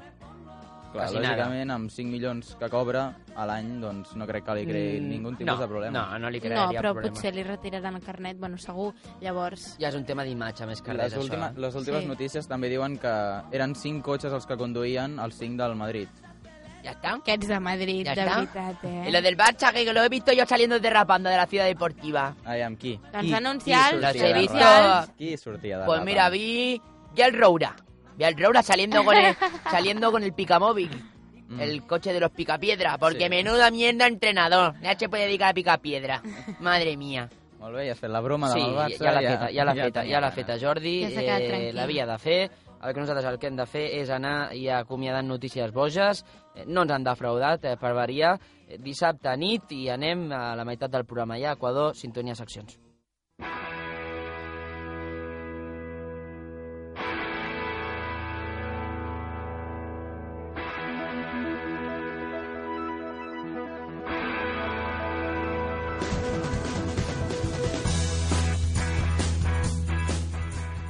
E: Clar,
C: Quasi nada.
E: lògicament, amb 5 milions que cobra a l'any, doncs no crec que li creï
C: Mm,
E: ningú tipus
C: no,
E: de problema.
C: no, no li
D: No, però
E: problema.
D: potser li retiraran el carnet, bueno, segur. Llavors...
C: Ja és un tema d'imatge més que res,
E: Les, última,
C: això.
E: les últimes
D: Sí.
E: sí. notícies també diuen que eren 5 cotxes els que conduïen els 5 del Madrid.
G: Ya está.
D: Aquests de Madrid,
G: Ja
D: de
G: està.
D: veritat, eh?
G: Y lo del Barça, que lo he visto yo saliendo derrapando de la ciudad deportiva.
E: Ai, amb qui?
D: Doncs
E: qui,
D: anunciar els
E: qui sortia
G: Los he
E: de
G: visto-
E: Rapa? Qui sortia de
G: Pues
E: Rapa?
G: mira, vi, vi al Roura. Vi al Roura saliendo con el, saliendo con el picamóvil. El coche de los picapiedra. Porque
E: Sí.
G: menuda mierda entrenador. Ya se puede dedicar a picapiedra. Madre mía.
E: Molt bé, ja has fet la broma
C: Sí,
E: de la Barça.
C: ja l'ha feta, ja l'ha feta,
E: tenia
C: ja l'ha
E: ganes.
C: feta, Jordi.
D: Ja s'ha quedat
C: eh,
D: tranquil.
C: L'havia de fer. El que nosaltres el que hem de fer és anar i acomiadant notícies boges. Eh, No ens han defraudat, eh, per variar. Eh, Dissabte nit i anem a la meitat del programa ja. Equador, sintonia seccions.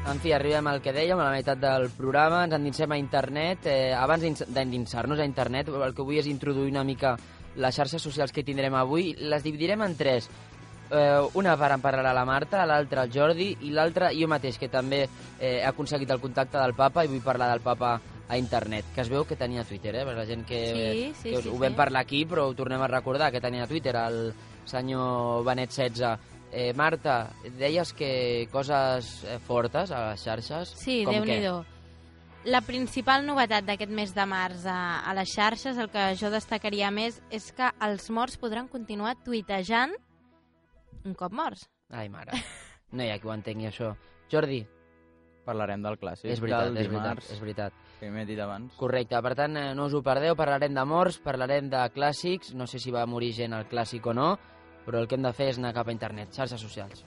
C: En fi, arribem al que dèiem, a la meitat del programa, ens endinsem a internet. Eh, abans d'ins- d'endinsar-nos a internet, el que vull és introduir una mica les xarxes socials que tindrem avui les dividirem en tres. Eh, una per en parlar a la Marta, l'altra al Jordi i l'altra jo mateix, que també eh, he aconseguit el contacte del papa i vull parlar del papa a internet, que es veu que tenia Twitter, eh? Per la gent que,
D: Sí, sí,
C: que us-
D: sí,
C: ho
D: sí.
C: vam parlar aquí, però ho tornem a recordar, que tenia Twitter el senyor Benet 16. Eh, Marta, deies que coses eh, fortes a les xarxes.
D: Sí,
C: com
D: déu nhi
C: què?
D: La principal novetat d'aquest mes de març a, a les xarxes, el que jo destacaria més, és que els morts podran continuar tuitejant un cop morts.
C: Ai, mare. No hi ha qui ho entengui, això. Jordi.
E: Parlarem del clàssic.
C: És veritat,
E: del
C: és veritat,
E: dimarts.
C: és veritat.
E: Que m'he dit abans.
C: Correcte, per tant, eh, no us ho perdeu, parlarem de morts, parlarem de clàssics, no sé si va morir gent al clàssic o no, però el que hem de fer és anar cap a internet, xarxes socials.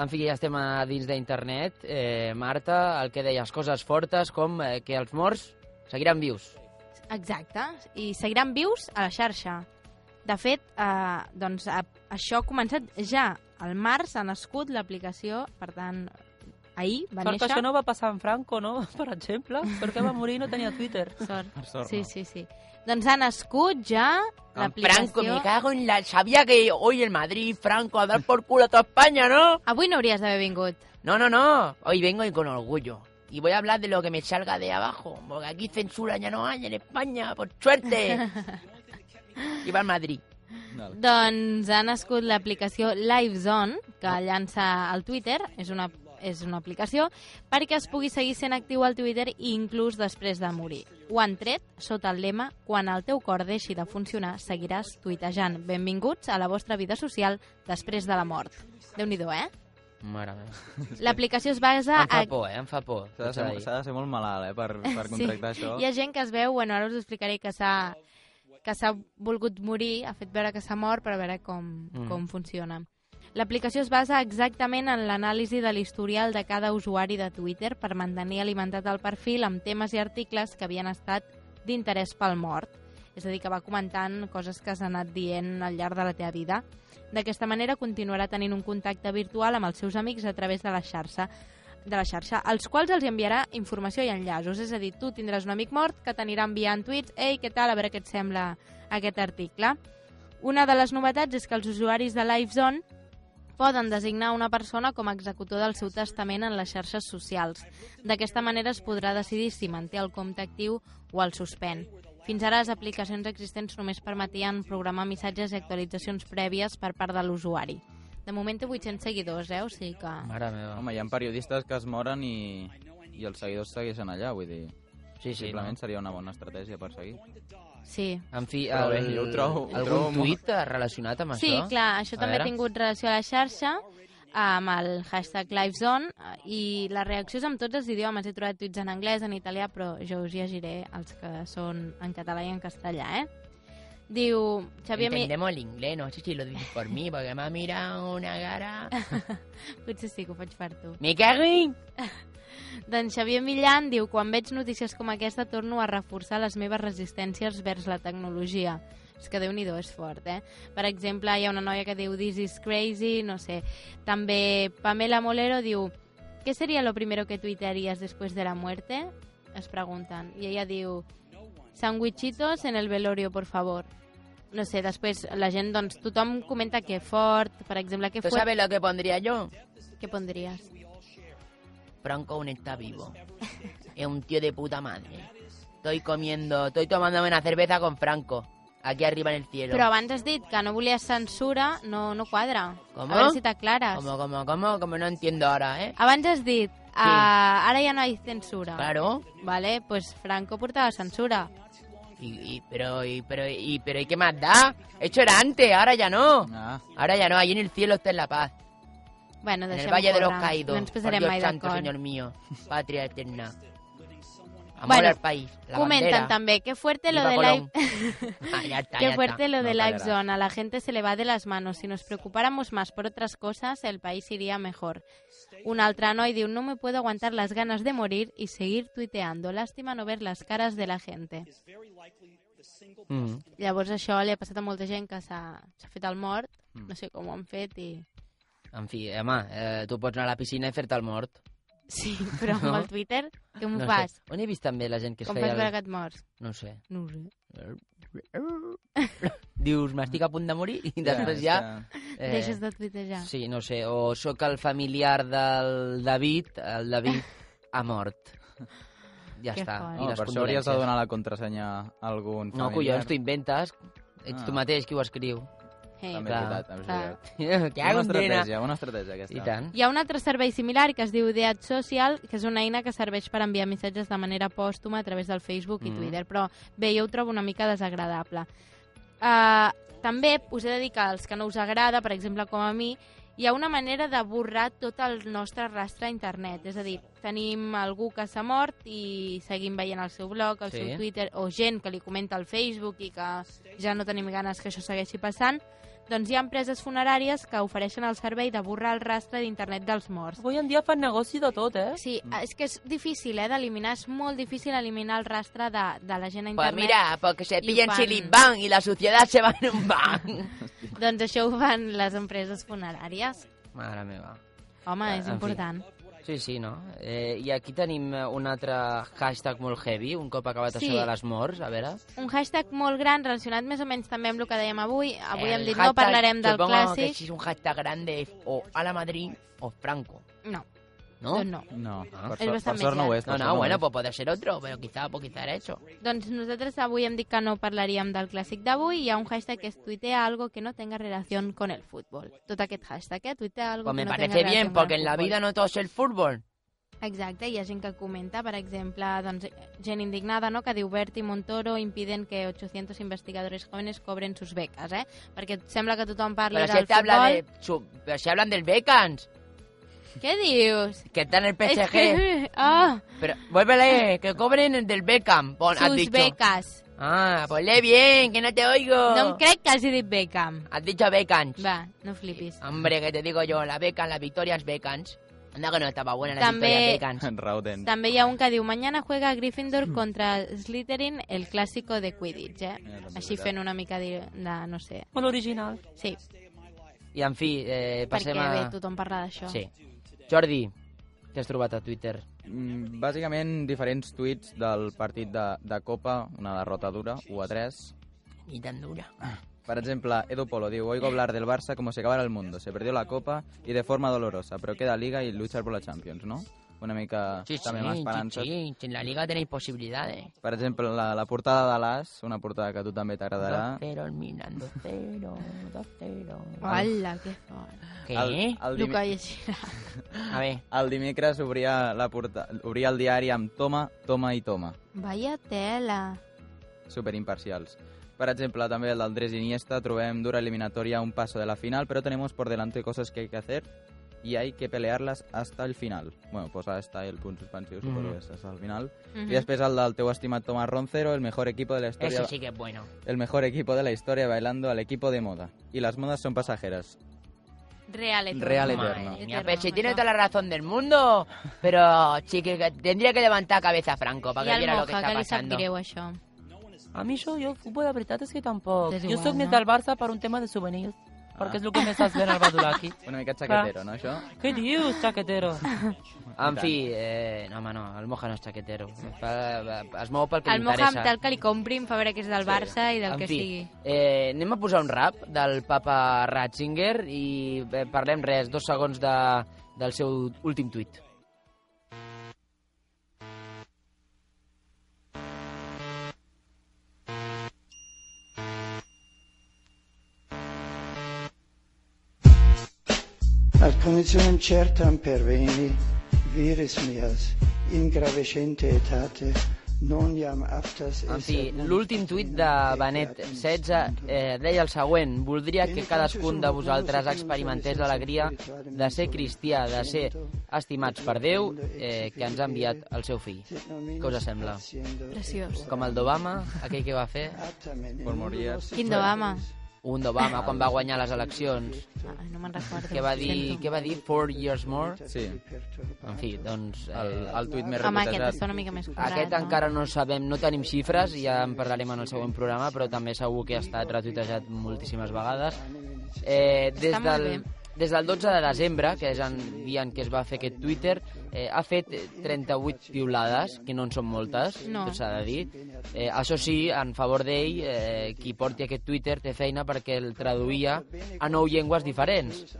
C: En fi, ja estem a dins d'internet. Eh, Marta, el que deies, coses fortes com eh, que els morts seguiran vius.
D: Exacte, i seguiran vius a la xarxa. De fet, eh, doncs, a, això ha començat ja. Al març ha nascut l'aplicació, per tant, ahir va
F: Sort que
D: néixer...
F: això no va passar en Franco, no? Per exemple, perquè va morir i no tenia Twitter.
D: Sort.
E: sort,
D: sí, sí, sí. Doncs ha nascut ja l'aplicació...
G: Franco, me cago en la... Sabía que hoy en Madrid, Franco, a dar por culo a toda España, ¿no?
D: Avui no hauries d'haver vingut.
G: No, no, no. Hoy vengo y con orgullo. Y voy a hablar de lo que me salga de abajo. Porque aquí censura ya no hay en España, por suerte. y va a Madrid.
D: Doncs ha nascut l'aplicació LiveZone, que llança al Twitter, és una, és una aplicació, perquè es pugui seguir sent actiu al Twitter inclús després de morir. Ho han tret sota el lema «Quan el teu cor deixi de funcionar, seguiràs tuitejant. Benvinguts a la vostra vida social després de la mort». Déu-n'hi-do, eh?
C: Mare meva.
D: L'aplicació es basa...
C: Em fa
D: a-
C: por, eh? Em fa por.
E: S'ha de, ser,
C: S'ha de dir.
E: s'ha de ser molt malalt, eh, per, per contractar això.
D: Hi ha gent que es veu, bueno, ara us ho explicaré, que s'ha que s'ha volgut morir, ha fet veure que s'ha mort per veure com,
F: Mm.
D: mm. com funciona. L'aplicació es basa exactament en l'anàlisi de l'historial de cada usuari de Twitter per mantenir alimentat el perfil amb temes i articles que havien estat d'interès pel mort. És a dir, que va comentant coses que has anat dient al llarg de la teva vida. D'aquesta manera continuarà tenint un contacte virtual amb els seus amics a través de la xarxa de la xarxa, als quals els enviarà informació i enllaços. És a dir, tu tindràs un amic mort que t'anirà enviant tuits «Ei, què tal? A veure què et sembla aquest article». Una de les novetats és que els usuaris de LiveZone poden designar una persona com a executor del seu testament en les xarxes socials. D'aquesta manera es podrà decidir si manté el compte actiu o el suspèn. Fins ara, les aplicacions existents només permetien programar missatges i actualitzacions prèvies per part de l'usuari. De moment té 800 seguidors, eh? O sigui que...
C: Mare meva.
E: Home, hi ha periodistes que es moren i, i els seguidors segueixen allà, vull dir...
C: Sí,
E: sí, Simplement seria una bona estratègia per seguir.
D: Sí.
C: En fi,
E: Però
C: el,
E: bé, jo ho trobo- ho
C: algun
E: trobo molt-
C: tuit eh, relacionat amb
D: Sí,
C: això?
D: clar, això
C: A
D: també ha
C: veure.
D: tingut relació a la xarxa amb el hashtag LiveZone eh, i les reaccions amb tots els idiomes. He trobat tuits en anglès, en italià, però jo us llegiré els que són en català i en castellà, eh? Diu Xavier... Mi-
G: Entendemos el inglés, no sé si lo dices por mí, porque me ha mirado una cara...
D: Potser sí que ho faig per tu.
G: Me cago en...
D: Doncs Xavier Millan diu Quan veig notícies com aquesta torno a reforçar les meves resistències vers la tecnologia. És que déu nhi és fort, eh? Per exemple, hi ha una noia que diu This is crazy, no sé. També Pamela Molero diu ¿Qué sería lo primero que tuitearías después de la muerte? Es pregunten. I ella diu Sandwichitos en el velorio, por favor. No sé, després la gent, doncs, tothom comenta que fort, per exemple, que
G: ¿Tú
D: fort...
G: sabes lo que pondría yo?
D: Què pondries?
G: Franco aún está vivo. Es un tío de puta madre. Estoy comiendo, estoy tomándome una cerveza con Franco. Aquí arriba en el cielo.
D: Però abans has dit que no volies censura, no, no quadra.
G: ¿Cómo?
D: A veure si t'aclares.
G: ¿Cómo, cómo, cómo? Como no entiendo ahora, ¿eh?
D: Abans has dit, ah, ara ja no hi ha censura.
G: Claro.
D: Vale, pues Franco portava censura.
G: Y, y- pero, y, pero, y, pero, ¿y qué más da? Hecho era antes, ahora ya no.
E: Ah.
G: Ahora ya no, ahí en el cielo está en la paz.
D: Bueno,
G: en el
D: deixem
G: Valle de los
D: córrer.
G: Caídos.
D: No ens posarem
G: por Dios
D: mai
G: santo,
D: d'acord.
G: señor mío. Patria eterna. Amor
D: Bueno,
G: al país. La
D: comentan
G: bandera.
D: también, qué fuerte lo
G: Viva
D: de
G: Colón.
D: Live-
G: Ah, ya está, ya
D: Qué
G: está.
D: fuerte lo de
G: No
D: Live
G: fallará.
D: Zone. A la gente se le va de las manos. Si nos preocupáramos más por otras cosas, el país iría mejor. Un altre noi diu, no me puedo aguantar las ganas de morir y seguir tuiteando. Lástima no ver las caras de la gente.
G: Mm.
D: Llavors això li ha passat a molta gent que s'ha s'ha fet el mort,
C: Mm.
D: no sé com ho han fet i...
C: En fi, home, eh, tu pots anar a la piscina i fer-te el mort.
D: Sí, però amb el Twitter, què em
C: no
D: fas?
C: Sé. On he vist també la gent que es
D: Com
C: feia...
D: fas veure que et mors?
C: No ho sé.
D: No ho sé.
C: Dius, m'estic a punt de morir i
D: Ja,
C: després
D: és
C: ja... eh,
D: que- Deixes de tuitejar.
C: Sí, no sé, o sóc el familiar del David, el David ha mort. Ja
E: Que
C: està.
E: fort.
C: I
E: No,
C: les
E: per això hauries de
C: condolències.
E: donar la contrasenya a algun
C: No,
E: familiar.
C: collons, t'ho inventes. Ets
E: Ah.
C: tu mateix qui ho escriu.
D: Hey.
E: També
C: Clar.
E: és veritat, també és
D: Clar.
E: veritat.
C: Què hago, nena?
E: Una estratègia, una estratègia aquesta.
C: I tant.
D: Hi ha un altre servei similar que es diu Dead Social, que és una eina que serveix per enviar missatges de manera pòstuma a través del Facebook i
N: Mm.
D: Twitter, però bé, jo ho trobo una mica desagradable. Uh, també us he de dir que als que no us agrada, per exemple, com a mi, hi ha una manera de borrar tot el nostre rastre a internet. És a dir, tenim algú que s'ha mort i seguim veient el seu blog, el
N: Sí.
D: sí. seu Twitter, o gent que li comenta al Facebook i que ja no tenim ganes que això segueixi passant, doncs hi ha empreses funeràries que ofereixen el servei de borrar el rastre d'internet dels morts.
F: Avui en dia fan negoci de tot, eh?
D: Sí,
G: Mm.
D: és que és difícil, eh, d'eliminar. És molt difícil eliminar el rastre de, de la gent a
G: Pues
D: internet.
G: mira, porque se
D: Y
G: pillan
D: pan.
G: silibán y la suciedad se va en un van.
D: Doncs això ho fan les empreses funeràries.
C: Mare meva.
D: Home,
C: Eh,
D: és
G: Ah,
C: en fi.
D: important.
C: Sí, sí, no? Eh, I aquí tenim eh, un altre hashtag molt heavy, un cop acabat
D: Sí.
C: això de les morts, a veure.
D: Un hashtag molt gran relacionat més o menys també amb el que dèiem avui. Avui
G: El
D: hem dit no
G: hashtag,
D: parlarem del
G: supongo que
D: clàssic.
G: si es un hashtag grande es o a la Madrid o Franco.
D: No.
G: ¿No?
D: Doncs no.
E: No,
C: Ah.
D: per Es sort- bastant per sort no ho és,
G: No,
E: per
G: no,
E: sort no ho
G: bueno,
E: és.
G: pues podría ser otro, pero quizá por quitar eso.
D: Doncs nosaltres avui hem dit que no parlaríem del clàssic d'avui i hi ha un hashtag que es tuitea algo que no tenga relació con el fútbol. Tot aquest hashtag, eh? Tuitea algo
G: Pues me
D: que no tenga
G: parece bien,
D: relación con
G: porque
D: el
G: en la
D: fútbol.
G: vida no todo es el fútbol.
D: Exacte, hi ha gent que comenta, per exemple, doncs, gent indignada, no?, que diu Berti Montoro impiden que 800 investigadores jóvenes cobren sus becas, eh? Perquè sembla que tothom parli
G: Pero si
D: del
G: te habla
D: futbol.
G: de, su- pero si hablan del Beckhams,
D: Què dius?
G: que está en el
D: És
G: PSG.
D: que- Ah,
G: Pero vuélvele, que cobren el del Beckham. Pon, has
D: sus
G: dicho.
D: becas.
G: Ah, pues lee bien, que no te oigo.
D: No em crec que hagi dit Beckham.
G: Has dicho Beckhams.
D: Va, no flipis.
G: Hombre, que te digo yo, la Beckham, las victorias Beckhams. Anda que no estaba buena la
D: També-
G: victoria Beckhams.
E: Rauden.
D: També hi ha un que diu mañana juega Gryffindor contra Slytherin el clàssico de Quidditch, eh? Així fent una mica de, de no sé...
F: Molt original.
D: Sí,
C: I, en fi, eh,
D: perquè
C: passem a...
D: bé, tothom parla d'això.
C: Sí. Jordi, què has trobat a Twitter?
E: Mm, Bàsicament, diferents tuits del partit de, de Copa, una derrota dura, 1 a 3.
G: Ni tan dura.
E: Por ejemplo, Edu Polo digo, oigo hablar del Barça como si acabara el mundo. Se perdió la Copa y de forma dolorosa, pero queda Liga y luchar por la Champions, no? Una mica
G: Sí,
E: també amb
G: sí,
E: esperances.
G: sí, sí, en la liga tenéis posibilidades.
E: Per exemple, la, la portada de l'As, una portada que a tu també t'agradarà.
G: 2-0, el Milan, 2-0, 2-0.
D: Hola, que fort.
E: El- el
D: Lo
E: dimi-
D: que llegirà.
G: A ver.
E: El dimecres obria, la porta... obria el diari amb Toma, Toma i Toma.
D: Vaya tela.
E: superimparcials. Per exemple, també el del Andrés Iniesta, trobem dura eliminatoria a un paso de la final, pero tenemos por delante cosas que hay que hacer y hay que pelearlas hasta el final. Bueno, pues hasta el punt suspensiu, suposo
G: Mhm.
C: Mm-hmm.
E: que és hasta el final.
D: Mm-hmm.
G: Mhm.
E: I després el del teu estimat Tomás Roncero, el mejor equipo de la historia...
G: Ese sí que es bueno.
E: El mejor equipo de la historia bailando al equipo de moda. Y las modas son pasajeras.
D: Real Eterno.
E: Real Eterno.
G: Mira, pero si tiene toda la razón del mundo, pero sí que que tendría que levantar cabeza Franco
D: I
G: para que
D: al
G: viera lo que
D: Moja,
G: está
D: que li sap
G: pasando.
D: greu, això.
F: A mi això, jo, el futbol, la veritat és que tampoc.
D: És
F: jo
D: igual,
F: sóc més
D: no?
F: del Barça per un tema de souvenirs,
E: Ah.
F: perquè és el que més estàs fent al Badulaki.
E: Una mica chaquetero, no, això?
F: Què dius, xaquetero?
C: En fi, eh, no, home, no, el Moja no és xaquetero. Fa- Es mou pel que
D: El
C: li
D: Moja,
C: interessa.
D: tal que li comprin, fa veure que és del Barça i del
C: en
D: que
C: fi,
D: sigui.
C: Eh, anem a posar un rap del papa Ratzinger i eh, parlem res, dos segons de, del seu últim tuit.
O: Als Konditionen certam perveni, viris mias, in gravescente etate,
C: En fi, l'últim tuit de Benet 16 eh, deia el següent. Voldria que cadascun de vosaltres experimentés l'alegria de ser cristià, de ser estimats per Déu, eh, que ens ha enviat el seu fill. Què us sembla?
D: Preciós.
C: Com el d'Obama, aquell que va fer...
E: Por morir.
D: Quin d'Obama?
C: Un d'Obama, quan va guanyar les eleccions.
D: Ai, Ah, no me'n recordo.
C: Què va dir? Què va dir? Four years more?
E: Sí.
C: En fi, doncs... Eh,
E: El, el tuit més
D: Home, aquest
E: retuitejat.
D: està una mica més cobrat,
C: Aquest
D: no?
C: encara no sabem, no tenim xifres, ja en parlarem en el següent programa, però també segur que ha estat retuitejat moltíssimes vegades. Eh, des,
D: Està molt
C: del, des del 12 de desembre, que és en dia en què es va fer aquest Twitter, eh, ha fet eh, 38 piulades, que no en són moltes,
D: No.
C: tot s'ha de dir. Eh, això sí, en favor d'ell, eh, qui porti aquest Twitter té feina perquè el traduïa a nou llengües diferents.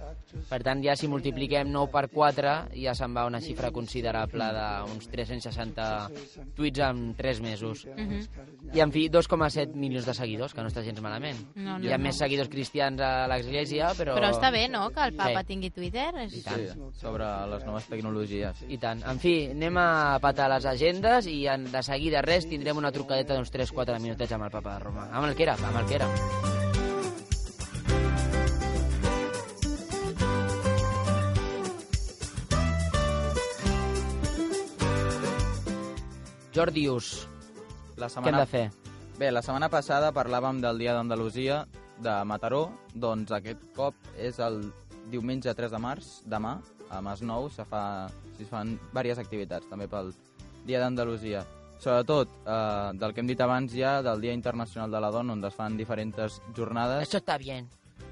C: Per tant, ja si multipliquem 9 per 4, ja se'n va una xifra considerable d'uns 360 tuits en 3 mesos.
D: Mhm.
C: I, en fi, 2,7 milions de seguidors, que no està gens malament.
D: No, no,
C: Hi ha
D: no.
C: més seguidors cristians a l'església, però...
D: Però està bé, no?, que el papa
C: Sí.
D: tingui Twitter. És...
C: I tant.
E: sobre les noves tecnologies.
C: I tant. En fi, anem a patar les agendes i en, de seguida res tindrem una trucadeta d'uns 3-4 minutets amb el papa de Roma. Amb el que era, amb el que era. Jordius,
E: La
C: què hem
E: setmana...
C: de fer?
E: Bé, la setmana passada parlàvem del Dia d'Andalusia de Mataró, doncs aquest cop és el diumenge 3 de març, demà, a Masnou, se fa, s'hi fan diverses activitats també pel Dia d'Andalusia. Sobretot, eh, del que hem dit abans ja, del Dia Internacional de la Dona, on es fan diferents jornades.
C: Això està bien.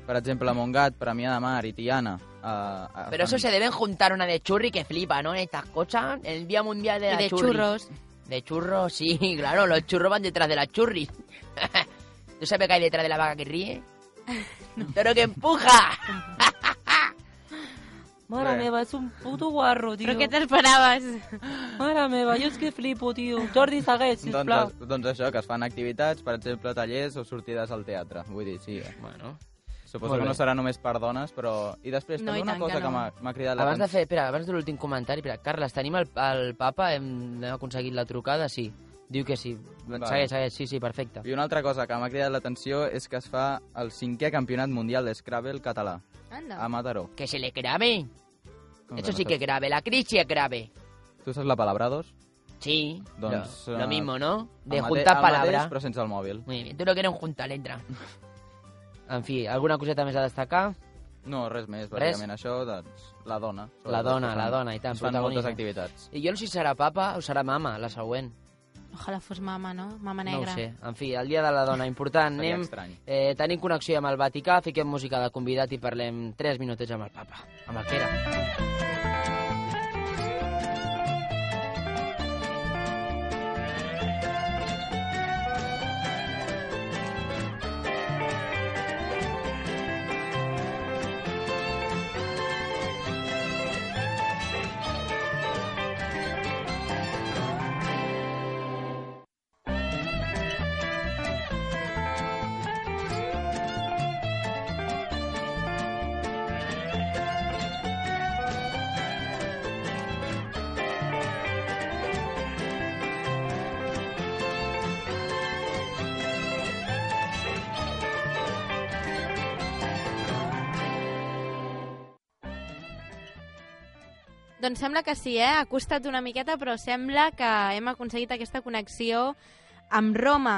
E: Per exemple, a Montgat, Premià de Mar i Tiana. Eh, eh,
G: Pero eso
E: fan-
G: se deben juntar una de churri que flipa, ¿no? Estas cosas. El Día Mundial de
D: I
G: la
D: de
G: Churri.
D: xurros.
G: De churros, sí, claro. Los churros van detrás de las churris. ¿Tú sabes qué hay detrás de la vaca que ríe? Un Toro que empuja.
F: Mare
G: Bé.
F: meva, és un puto guarro, tio.
D: Però què t'esperaves?
F: Mare meva, jo és que flipo, tio. Jordi, segueix, sisplau.
E: Doncs, doncs això, que es fan activitats, per exemple, tallers o sortides al teatre. Vull dir, sí. eh.
C: Bueno.
E: Suposo
C: Molt
E: que
C: bé.
E: no serà només per dones, però... I després,
D: No,
E: també
D: i
E: una
D: tant
E: cosa
D: que
E: que,
D: no.
E: m'ha- m'ha cridat
C: Abans
E: l'atenció...
C: de fer, espera, abans de l'últim comentari, espera, Carles, tenim el, el papa, hem, hem aconseguit la trucada, sí. Diu que sí.
E: Vale.
C: Segueix, segueix, sí, sí, perfecte.
E: I una altra cosa que m'ha cridat l'atenció és que es fa el cinquè campionat mundial de Scrabble català,
D: Anda.
E: a Mataró.
G: Que se le grabe.
C: Doncs
E: Com
G: Eso
E: no
G: sí que
E: saps?
G: es grave. La crisis es grave.
E: Tu saps la palabra dos?
G: Sí.
E: Doncs...
G: lo,
E: eh,
G: lo mismo, ¿no? De
E: el mate-
G: juntar
E: el
G: palabras.
E: Mateix, però sense el mòbil.
G: Muy bien. Tú lo que eres un juntar letra.
C: En fi, alguna coseta més a destacar?
E: No, res més, bàsicament. Això, doncs, la dona. sobretot,
C: La dona,
E: que
C: la dona, i tant,
E: Es fan moltes
C: protagonista.
E: activitats.
C: I jo no sé si serà papa o serà mama, la següent.
D: Ojalà fos mama, no? Mama
C: No ho
D: negra.
C: sé. En fi, el dia de la dona, important.
E: Seria
C: Anem,
E: estrany.
C: eh, tenim connexió amb el Vaticà, fiquem música de convidat i parlem 3 minutets amb el papa, amb el que era.
D: Doncs sembla que sí, eh? Ha costat una miqueta, però sembla que hem aconseguit aquesta connexió amb Roma.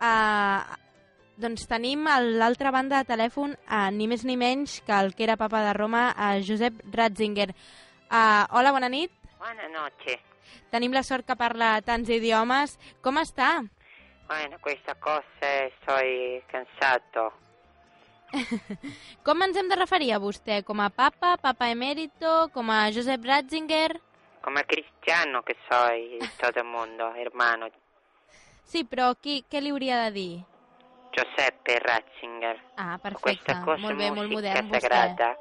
D: Uh, doncs tenim a l'altra banda de telèfon, uh, ni més ni menys que el que era papa de Roma, uh, Josep Ratzinger. Uh, hola, bona nit.
N: Buenas noches.
D: Tenim la sort que parla tants idiomes. Com està?
N: Bueno, questa cosa eh, sono cansato.
D: Com ens hem de referir a vostè? Com a papa, papa emèrito, com a Josep Ratzinger?
N: Come cristiano che soy in tutto il mondo, hermano.
D: Sí, però qui, què li hauria de dir?
N: Giuseppe Ratzinger.
D: Ah, perfecte.
N: Questa cosa
D: Molt bé,
N: musica
D: molt modern vostè.
N: sagrada.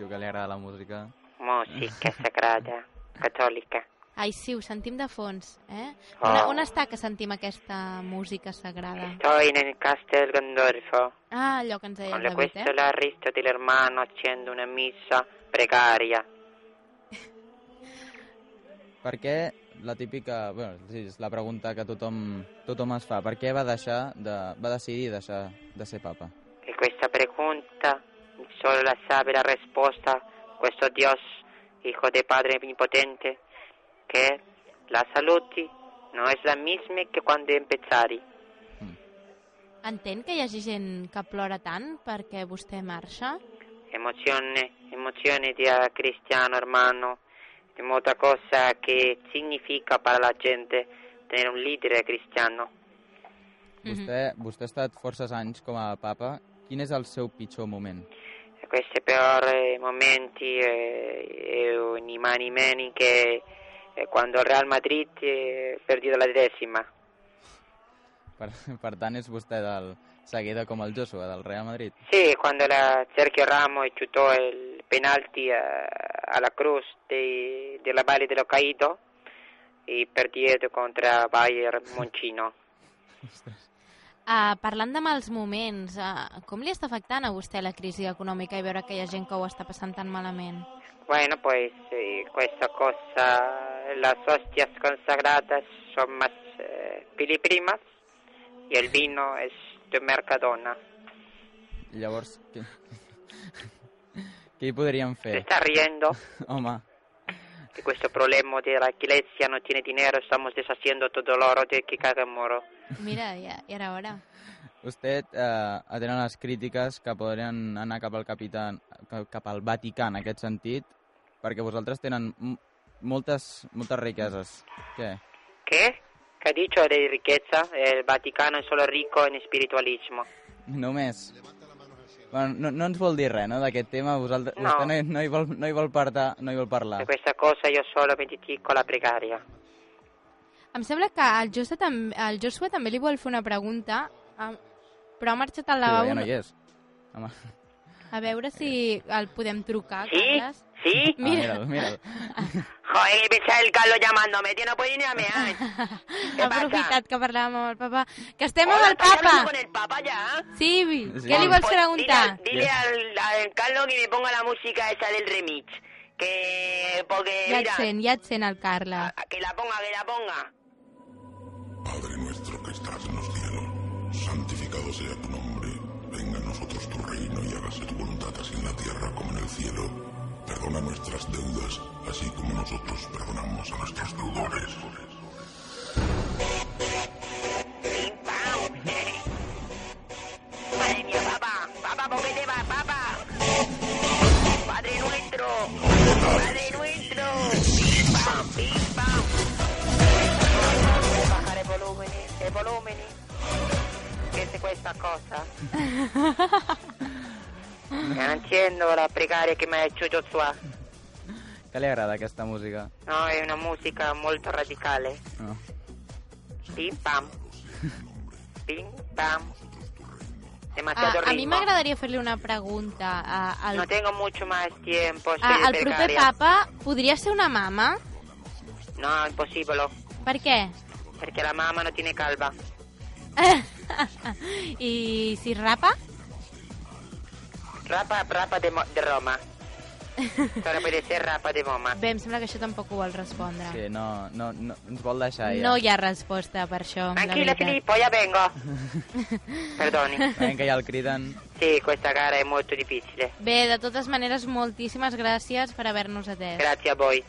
E: Diu que li agrada la música.
N: Musica sagrada, cattolica.
D: Ai, sí, ho sentim de fons, eh?
N: Oh.
D: On, on està que sentim aquesta música sagrada?
N: Sto nel Castel Gandolfo.
D: Ah, allò que ens deia
N: Con
D: el
N: la
D: David, eh?
N: questola risto dell'ermano accendo una missa precaria.
E: Per què la típica... Bueno, sí, és la pregunta que tothom, tothom es fa. Per què va deixar de, va decidir deixar de ser papa?
G: E questa pregunta solo la sa per la risposta questo Dio, Hijo de Padre Onnipotente, che la saluti non è la misma che quando empezari.
D: Entén que hi hagi gent que plora tant perquè vostè marxa?
G: Emozione, emozione di eh, cristiano hermano, è molta cosa che significa per la gente tenere un leader cristiano.
E: Vostè, vostè ha estat forces anys com a papa. Quin és el seu pitjor moment?
G: E questi per momenti eh, e in mani meni che eh, quando il Real Madrid eh, ha perduto la decima.
E: Per, per tant, és vostè del seguida com el Joshua, del Real Madrid.
G: Sì, quando la Sergio Ramos chiutò il penalti eh, alla Cruz dei- della Valle dello Caído e perdió contro Bayern Moncino.
D: Uh, parlant de mals moments, uh, com li està afectant a vostè la crisi econòmica i veure que hi ha gent que ho està passant tan malament?
G: Bueno, pues eh, questa cosa, las hostias consagradas son más eh, piliprimas y el vino es de Mercadona.
E: Llavors, què, què hi podríem fer?
G: Está riendo
E: Home,
G: de questo problema de la iglesia no tiene dinero, estamos deshaciendo todo el oro de que caga en moro.
D: Mira, ja, ja era hora.
E: vostè eh, atén a les crítiques que podrien anar cap al, capità, ca- cap al Vaticà en aquest sentit, perquè vosaltres tenen m- moltes, moltes riqueses. Què?
G: ¿Qué? ¿Qué ha dicho de riqueza? El Vaticano es solo rico en espiritualismo.
E: Només. Bueno, no, no ens vol dir res, no, d'aquest tema. Vosaltres,
G: No.
E: Vostè no, hi- no, hi vol, no, hi vol parlar, no hi vol parlar.
G: De questa cosa io solo mi dedico alla precaria.
D: Em sembla que el Joshua, tam el Joshua també li vol fer una pregunta, um, però ha marxat al
E: Però
D: lavabo.
E: ja no hi és. Home. ah,
D: A veure si el podem trucar,
G: Sí?
D: Carles.
G: ¿Sí?
E: Ah, mira'l, mira'l.
G: Joder, empieza el Carlos llamándome, tío, no puede ni a mear.
D: Ha aprofitat que parlàvem amb el papa. Que estem amb el
G: ¿estás hablando
D: papa!
G: con el Papa ya?
D: Sí, vi.
E: Sí.
D: Què li vols
G: Pues
D: preguntar?
G: Dile, dile al, al Carlos que me ponga la música esa del remix. Que, porque,
D: Ja et
G: mira, Ah,
D: sent, ja et sent el Carles.
G: que la ponga, que la ponga.
M: Padre nuestro que estás en los cielos, santificado sea tu nombre, venga a nosotros tu reino y hágase tu voluntad así en la tierra como en el cielo. Perdona nuestras deudas, así como nosotros perdonamos a nuestros deudores.
G: eh. Madre mía, papá, papá, ¿por qué te vas, papá? Padre nuestro, Padre nuestro. Pim, pam, pim, pam. Bajar el volumen, el volumen. ¿Qué es esta cosa? Yo no entiendo la precaria que me ha hecho Joshua.
E: Què li agrada aquesta música?
G: No, es una música muy radical.
E: No.
G: Pim, pam. Pim, pam.
D: Ah,
G: Demasiado
D: a mi
G: ritmo.
D: m'agradaria fer-li una pregunta. Ah, al,
G: No tengo mucho más tiempo. estoy
D: ah,
G: de
D: el proper
G: precaria.
D: papa podria ser una mama?
G: No, imposible.
D: Per què?
G: Porque la mamá no tiene calva.
D: I si rapa?
G: Rapa, rapa de, mo- de Roma. Solo puede ser rapa de Roma.
D: Bé, em sembla que això tampoc ho vol respondre.
E: Sí, no, no, no ens vol deixar ja.
D: No hi ha resposta per això.
G: Tranquila,
D: Filip.
G: Filippo, ya vengo. Perdoni.
E: Veiem que ja el criden.
G: Sí, questa gara è molto difficile.
D: Bé, de totes maneres, moltíssimes gràcies per haver-nos atès.
G: Grazie a voi.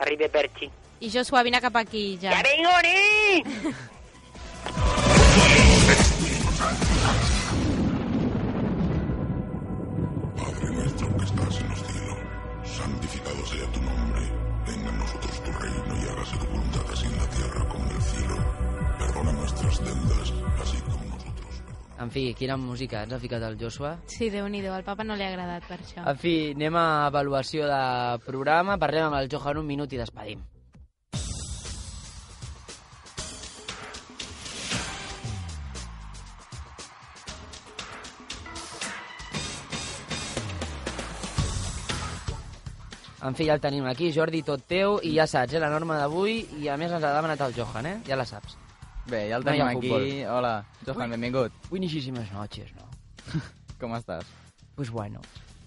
G: Arrivederci.
D: I jo suavina cap aquí, ja.
G: Ja vengo, ni!
M: Padre nuestro que estás en los cielos, santificado sea tu nombre, venga a nosotros tu reino y hágase tu voluntad así en la tierra como en el cielo. Perdona nuestras deudas, así como
C: En fi, quina música ens ha ficat el Joshua.
D: Sí, Déu-n'hi-do, al papa no li ha agradat per això.
C: En fi, anem a avaluació de programa, parlem amb el Johan un minut i despedim. En fi, ja el tenim aquí, Jordi, tot teu, i ja saps, eh, la norma d'avui, i a més ens ha demanat el Johan, eh? Ja la saps.
E: Bé, ja el
C: No hi
E: tenim
C: ha
E: aquí.
C: futbol.
E: Hola, Johan,
C: Ui.
E: benvingut.
C: Bueníssimes noches, no?
E: Com estàs?
C: Pues bueno.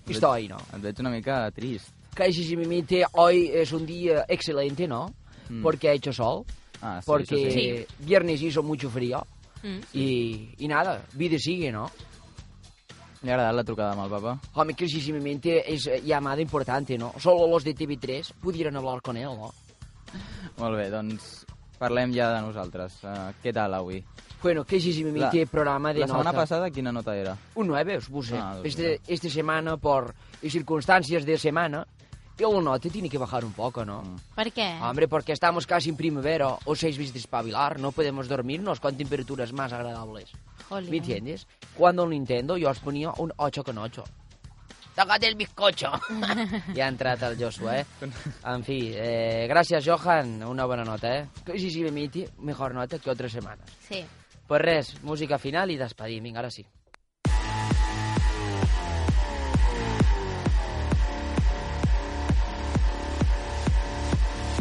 E: Et veig-
C: Estoy, no?
E: Et veig una mica trist.
C: Que si se me mete hoy es un día excelente, ¿no?
E: Mm.
C: porque ha hecho sol,
E: Ah, sí,
C: porque
E: eso sí.
C: viernes hizo mucho frío
P: Mm.
C: y, y nada, vida sigue, ¿no?
E: Li ha agradat la trucada amb el papa?
C: Hombre, clarísimamente es eh, llamada importante, ¿no? Solo los de TV3 pudieran hablar con él, ¿no?
E: Molt bé, doncs parlem ja de nosaltres. Uh, què tal avui?
C: Bueno, clarísimamente programa de
E: La setmana
C: nota.
E: passada quina nota era?
C: Un 9, os puse.
E: Ah, dos
C: este, esta semana, por circunstancias de semana, el note tiene que bajar un poco,
E: Mm.
C: ¿no?
P: Per què?
C: Hombre, porque estamos casi en primavera, o seis veces de espabilar, no podemos dormirnos con temperaturas más agradables.
P: Jolín.
C: ¿Me entiendes? Cuando el Nintendo yo os ponía un 8 con 8.
Q: Tócate el bizcocho.
C: Ja ha entrat el Joshua, eh? En fi, eh, gràcies, Johan. Una bona nota, eh? Que sí, sí, Miti, mejor nota que otras semanas.
P: Sí.
C: Pues res, música final i despedim. Vinga, ara sí.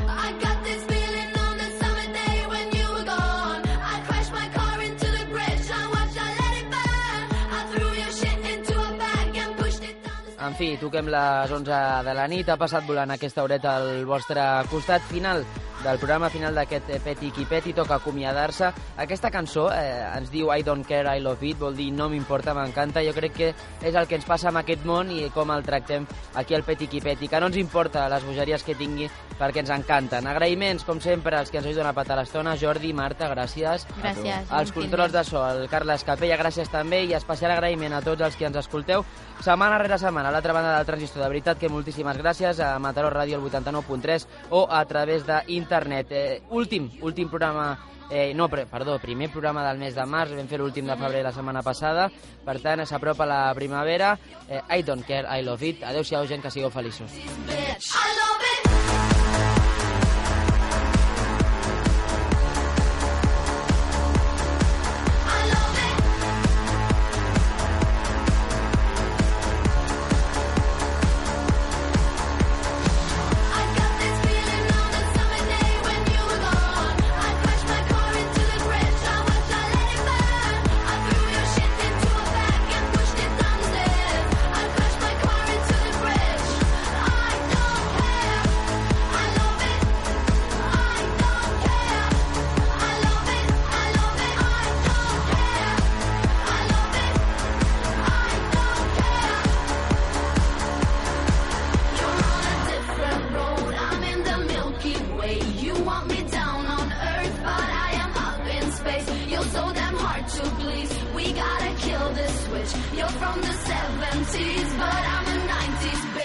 D: I got this feeling on the summer day when you were gone. I crashed my car into the bridge. I watched, I let it burn. I threw your shit into a bag and pushed it down.
C: En fi, toquem les 11 de la nit. Ha passat volant aquesta horeta al vostre costat final del programa final d'aquest eh, Peti qui peti, toca acomiadar-se. Aquesta cançó eh, ens diu I don't care, I love it, vol dir no m'importa, m'encanta. Jo crec que és el que ens passa amb aquest món i com el tractem aquí al Peti qui peti, que no ens importa les bogeries que tingui perquè ens encanten. Agraïments, com sempre, als que ens heu donat patar l'estona. Jordi, Marta, gràcies.
P: Gràcies,
C: Als
P: Martín.
C: controls de so, el Carles Capella, gràcies també, i especial agraïment a tots els que ens escolteu setmana rere setmana a l'altra banda del transistor. De veritat que moltíssimes gràcies a Mataró Ràdio el 89.3 o a través d'internet. Eh, últim, últim programa Eh, no, pre- perdó, primer programa del mes de març, vam fer l'últim de febrer la setmana passada, per tant, s'apropa la primavera. Eh, I don't care, I love it. Adéu-siau, gent, que sigueu feliços.
D: Bitch. I love it. I'm in the Milky Way. You want me down on Earth, but I am up in space. You're so damn hard to please. We gotta kill this switch. You're from the 70s, but I'm a 90s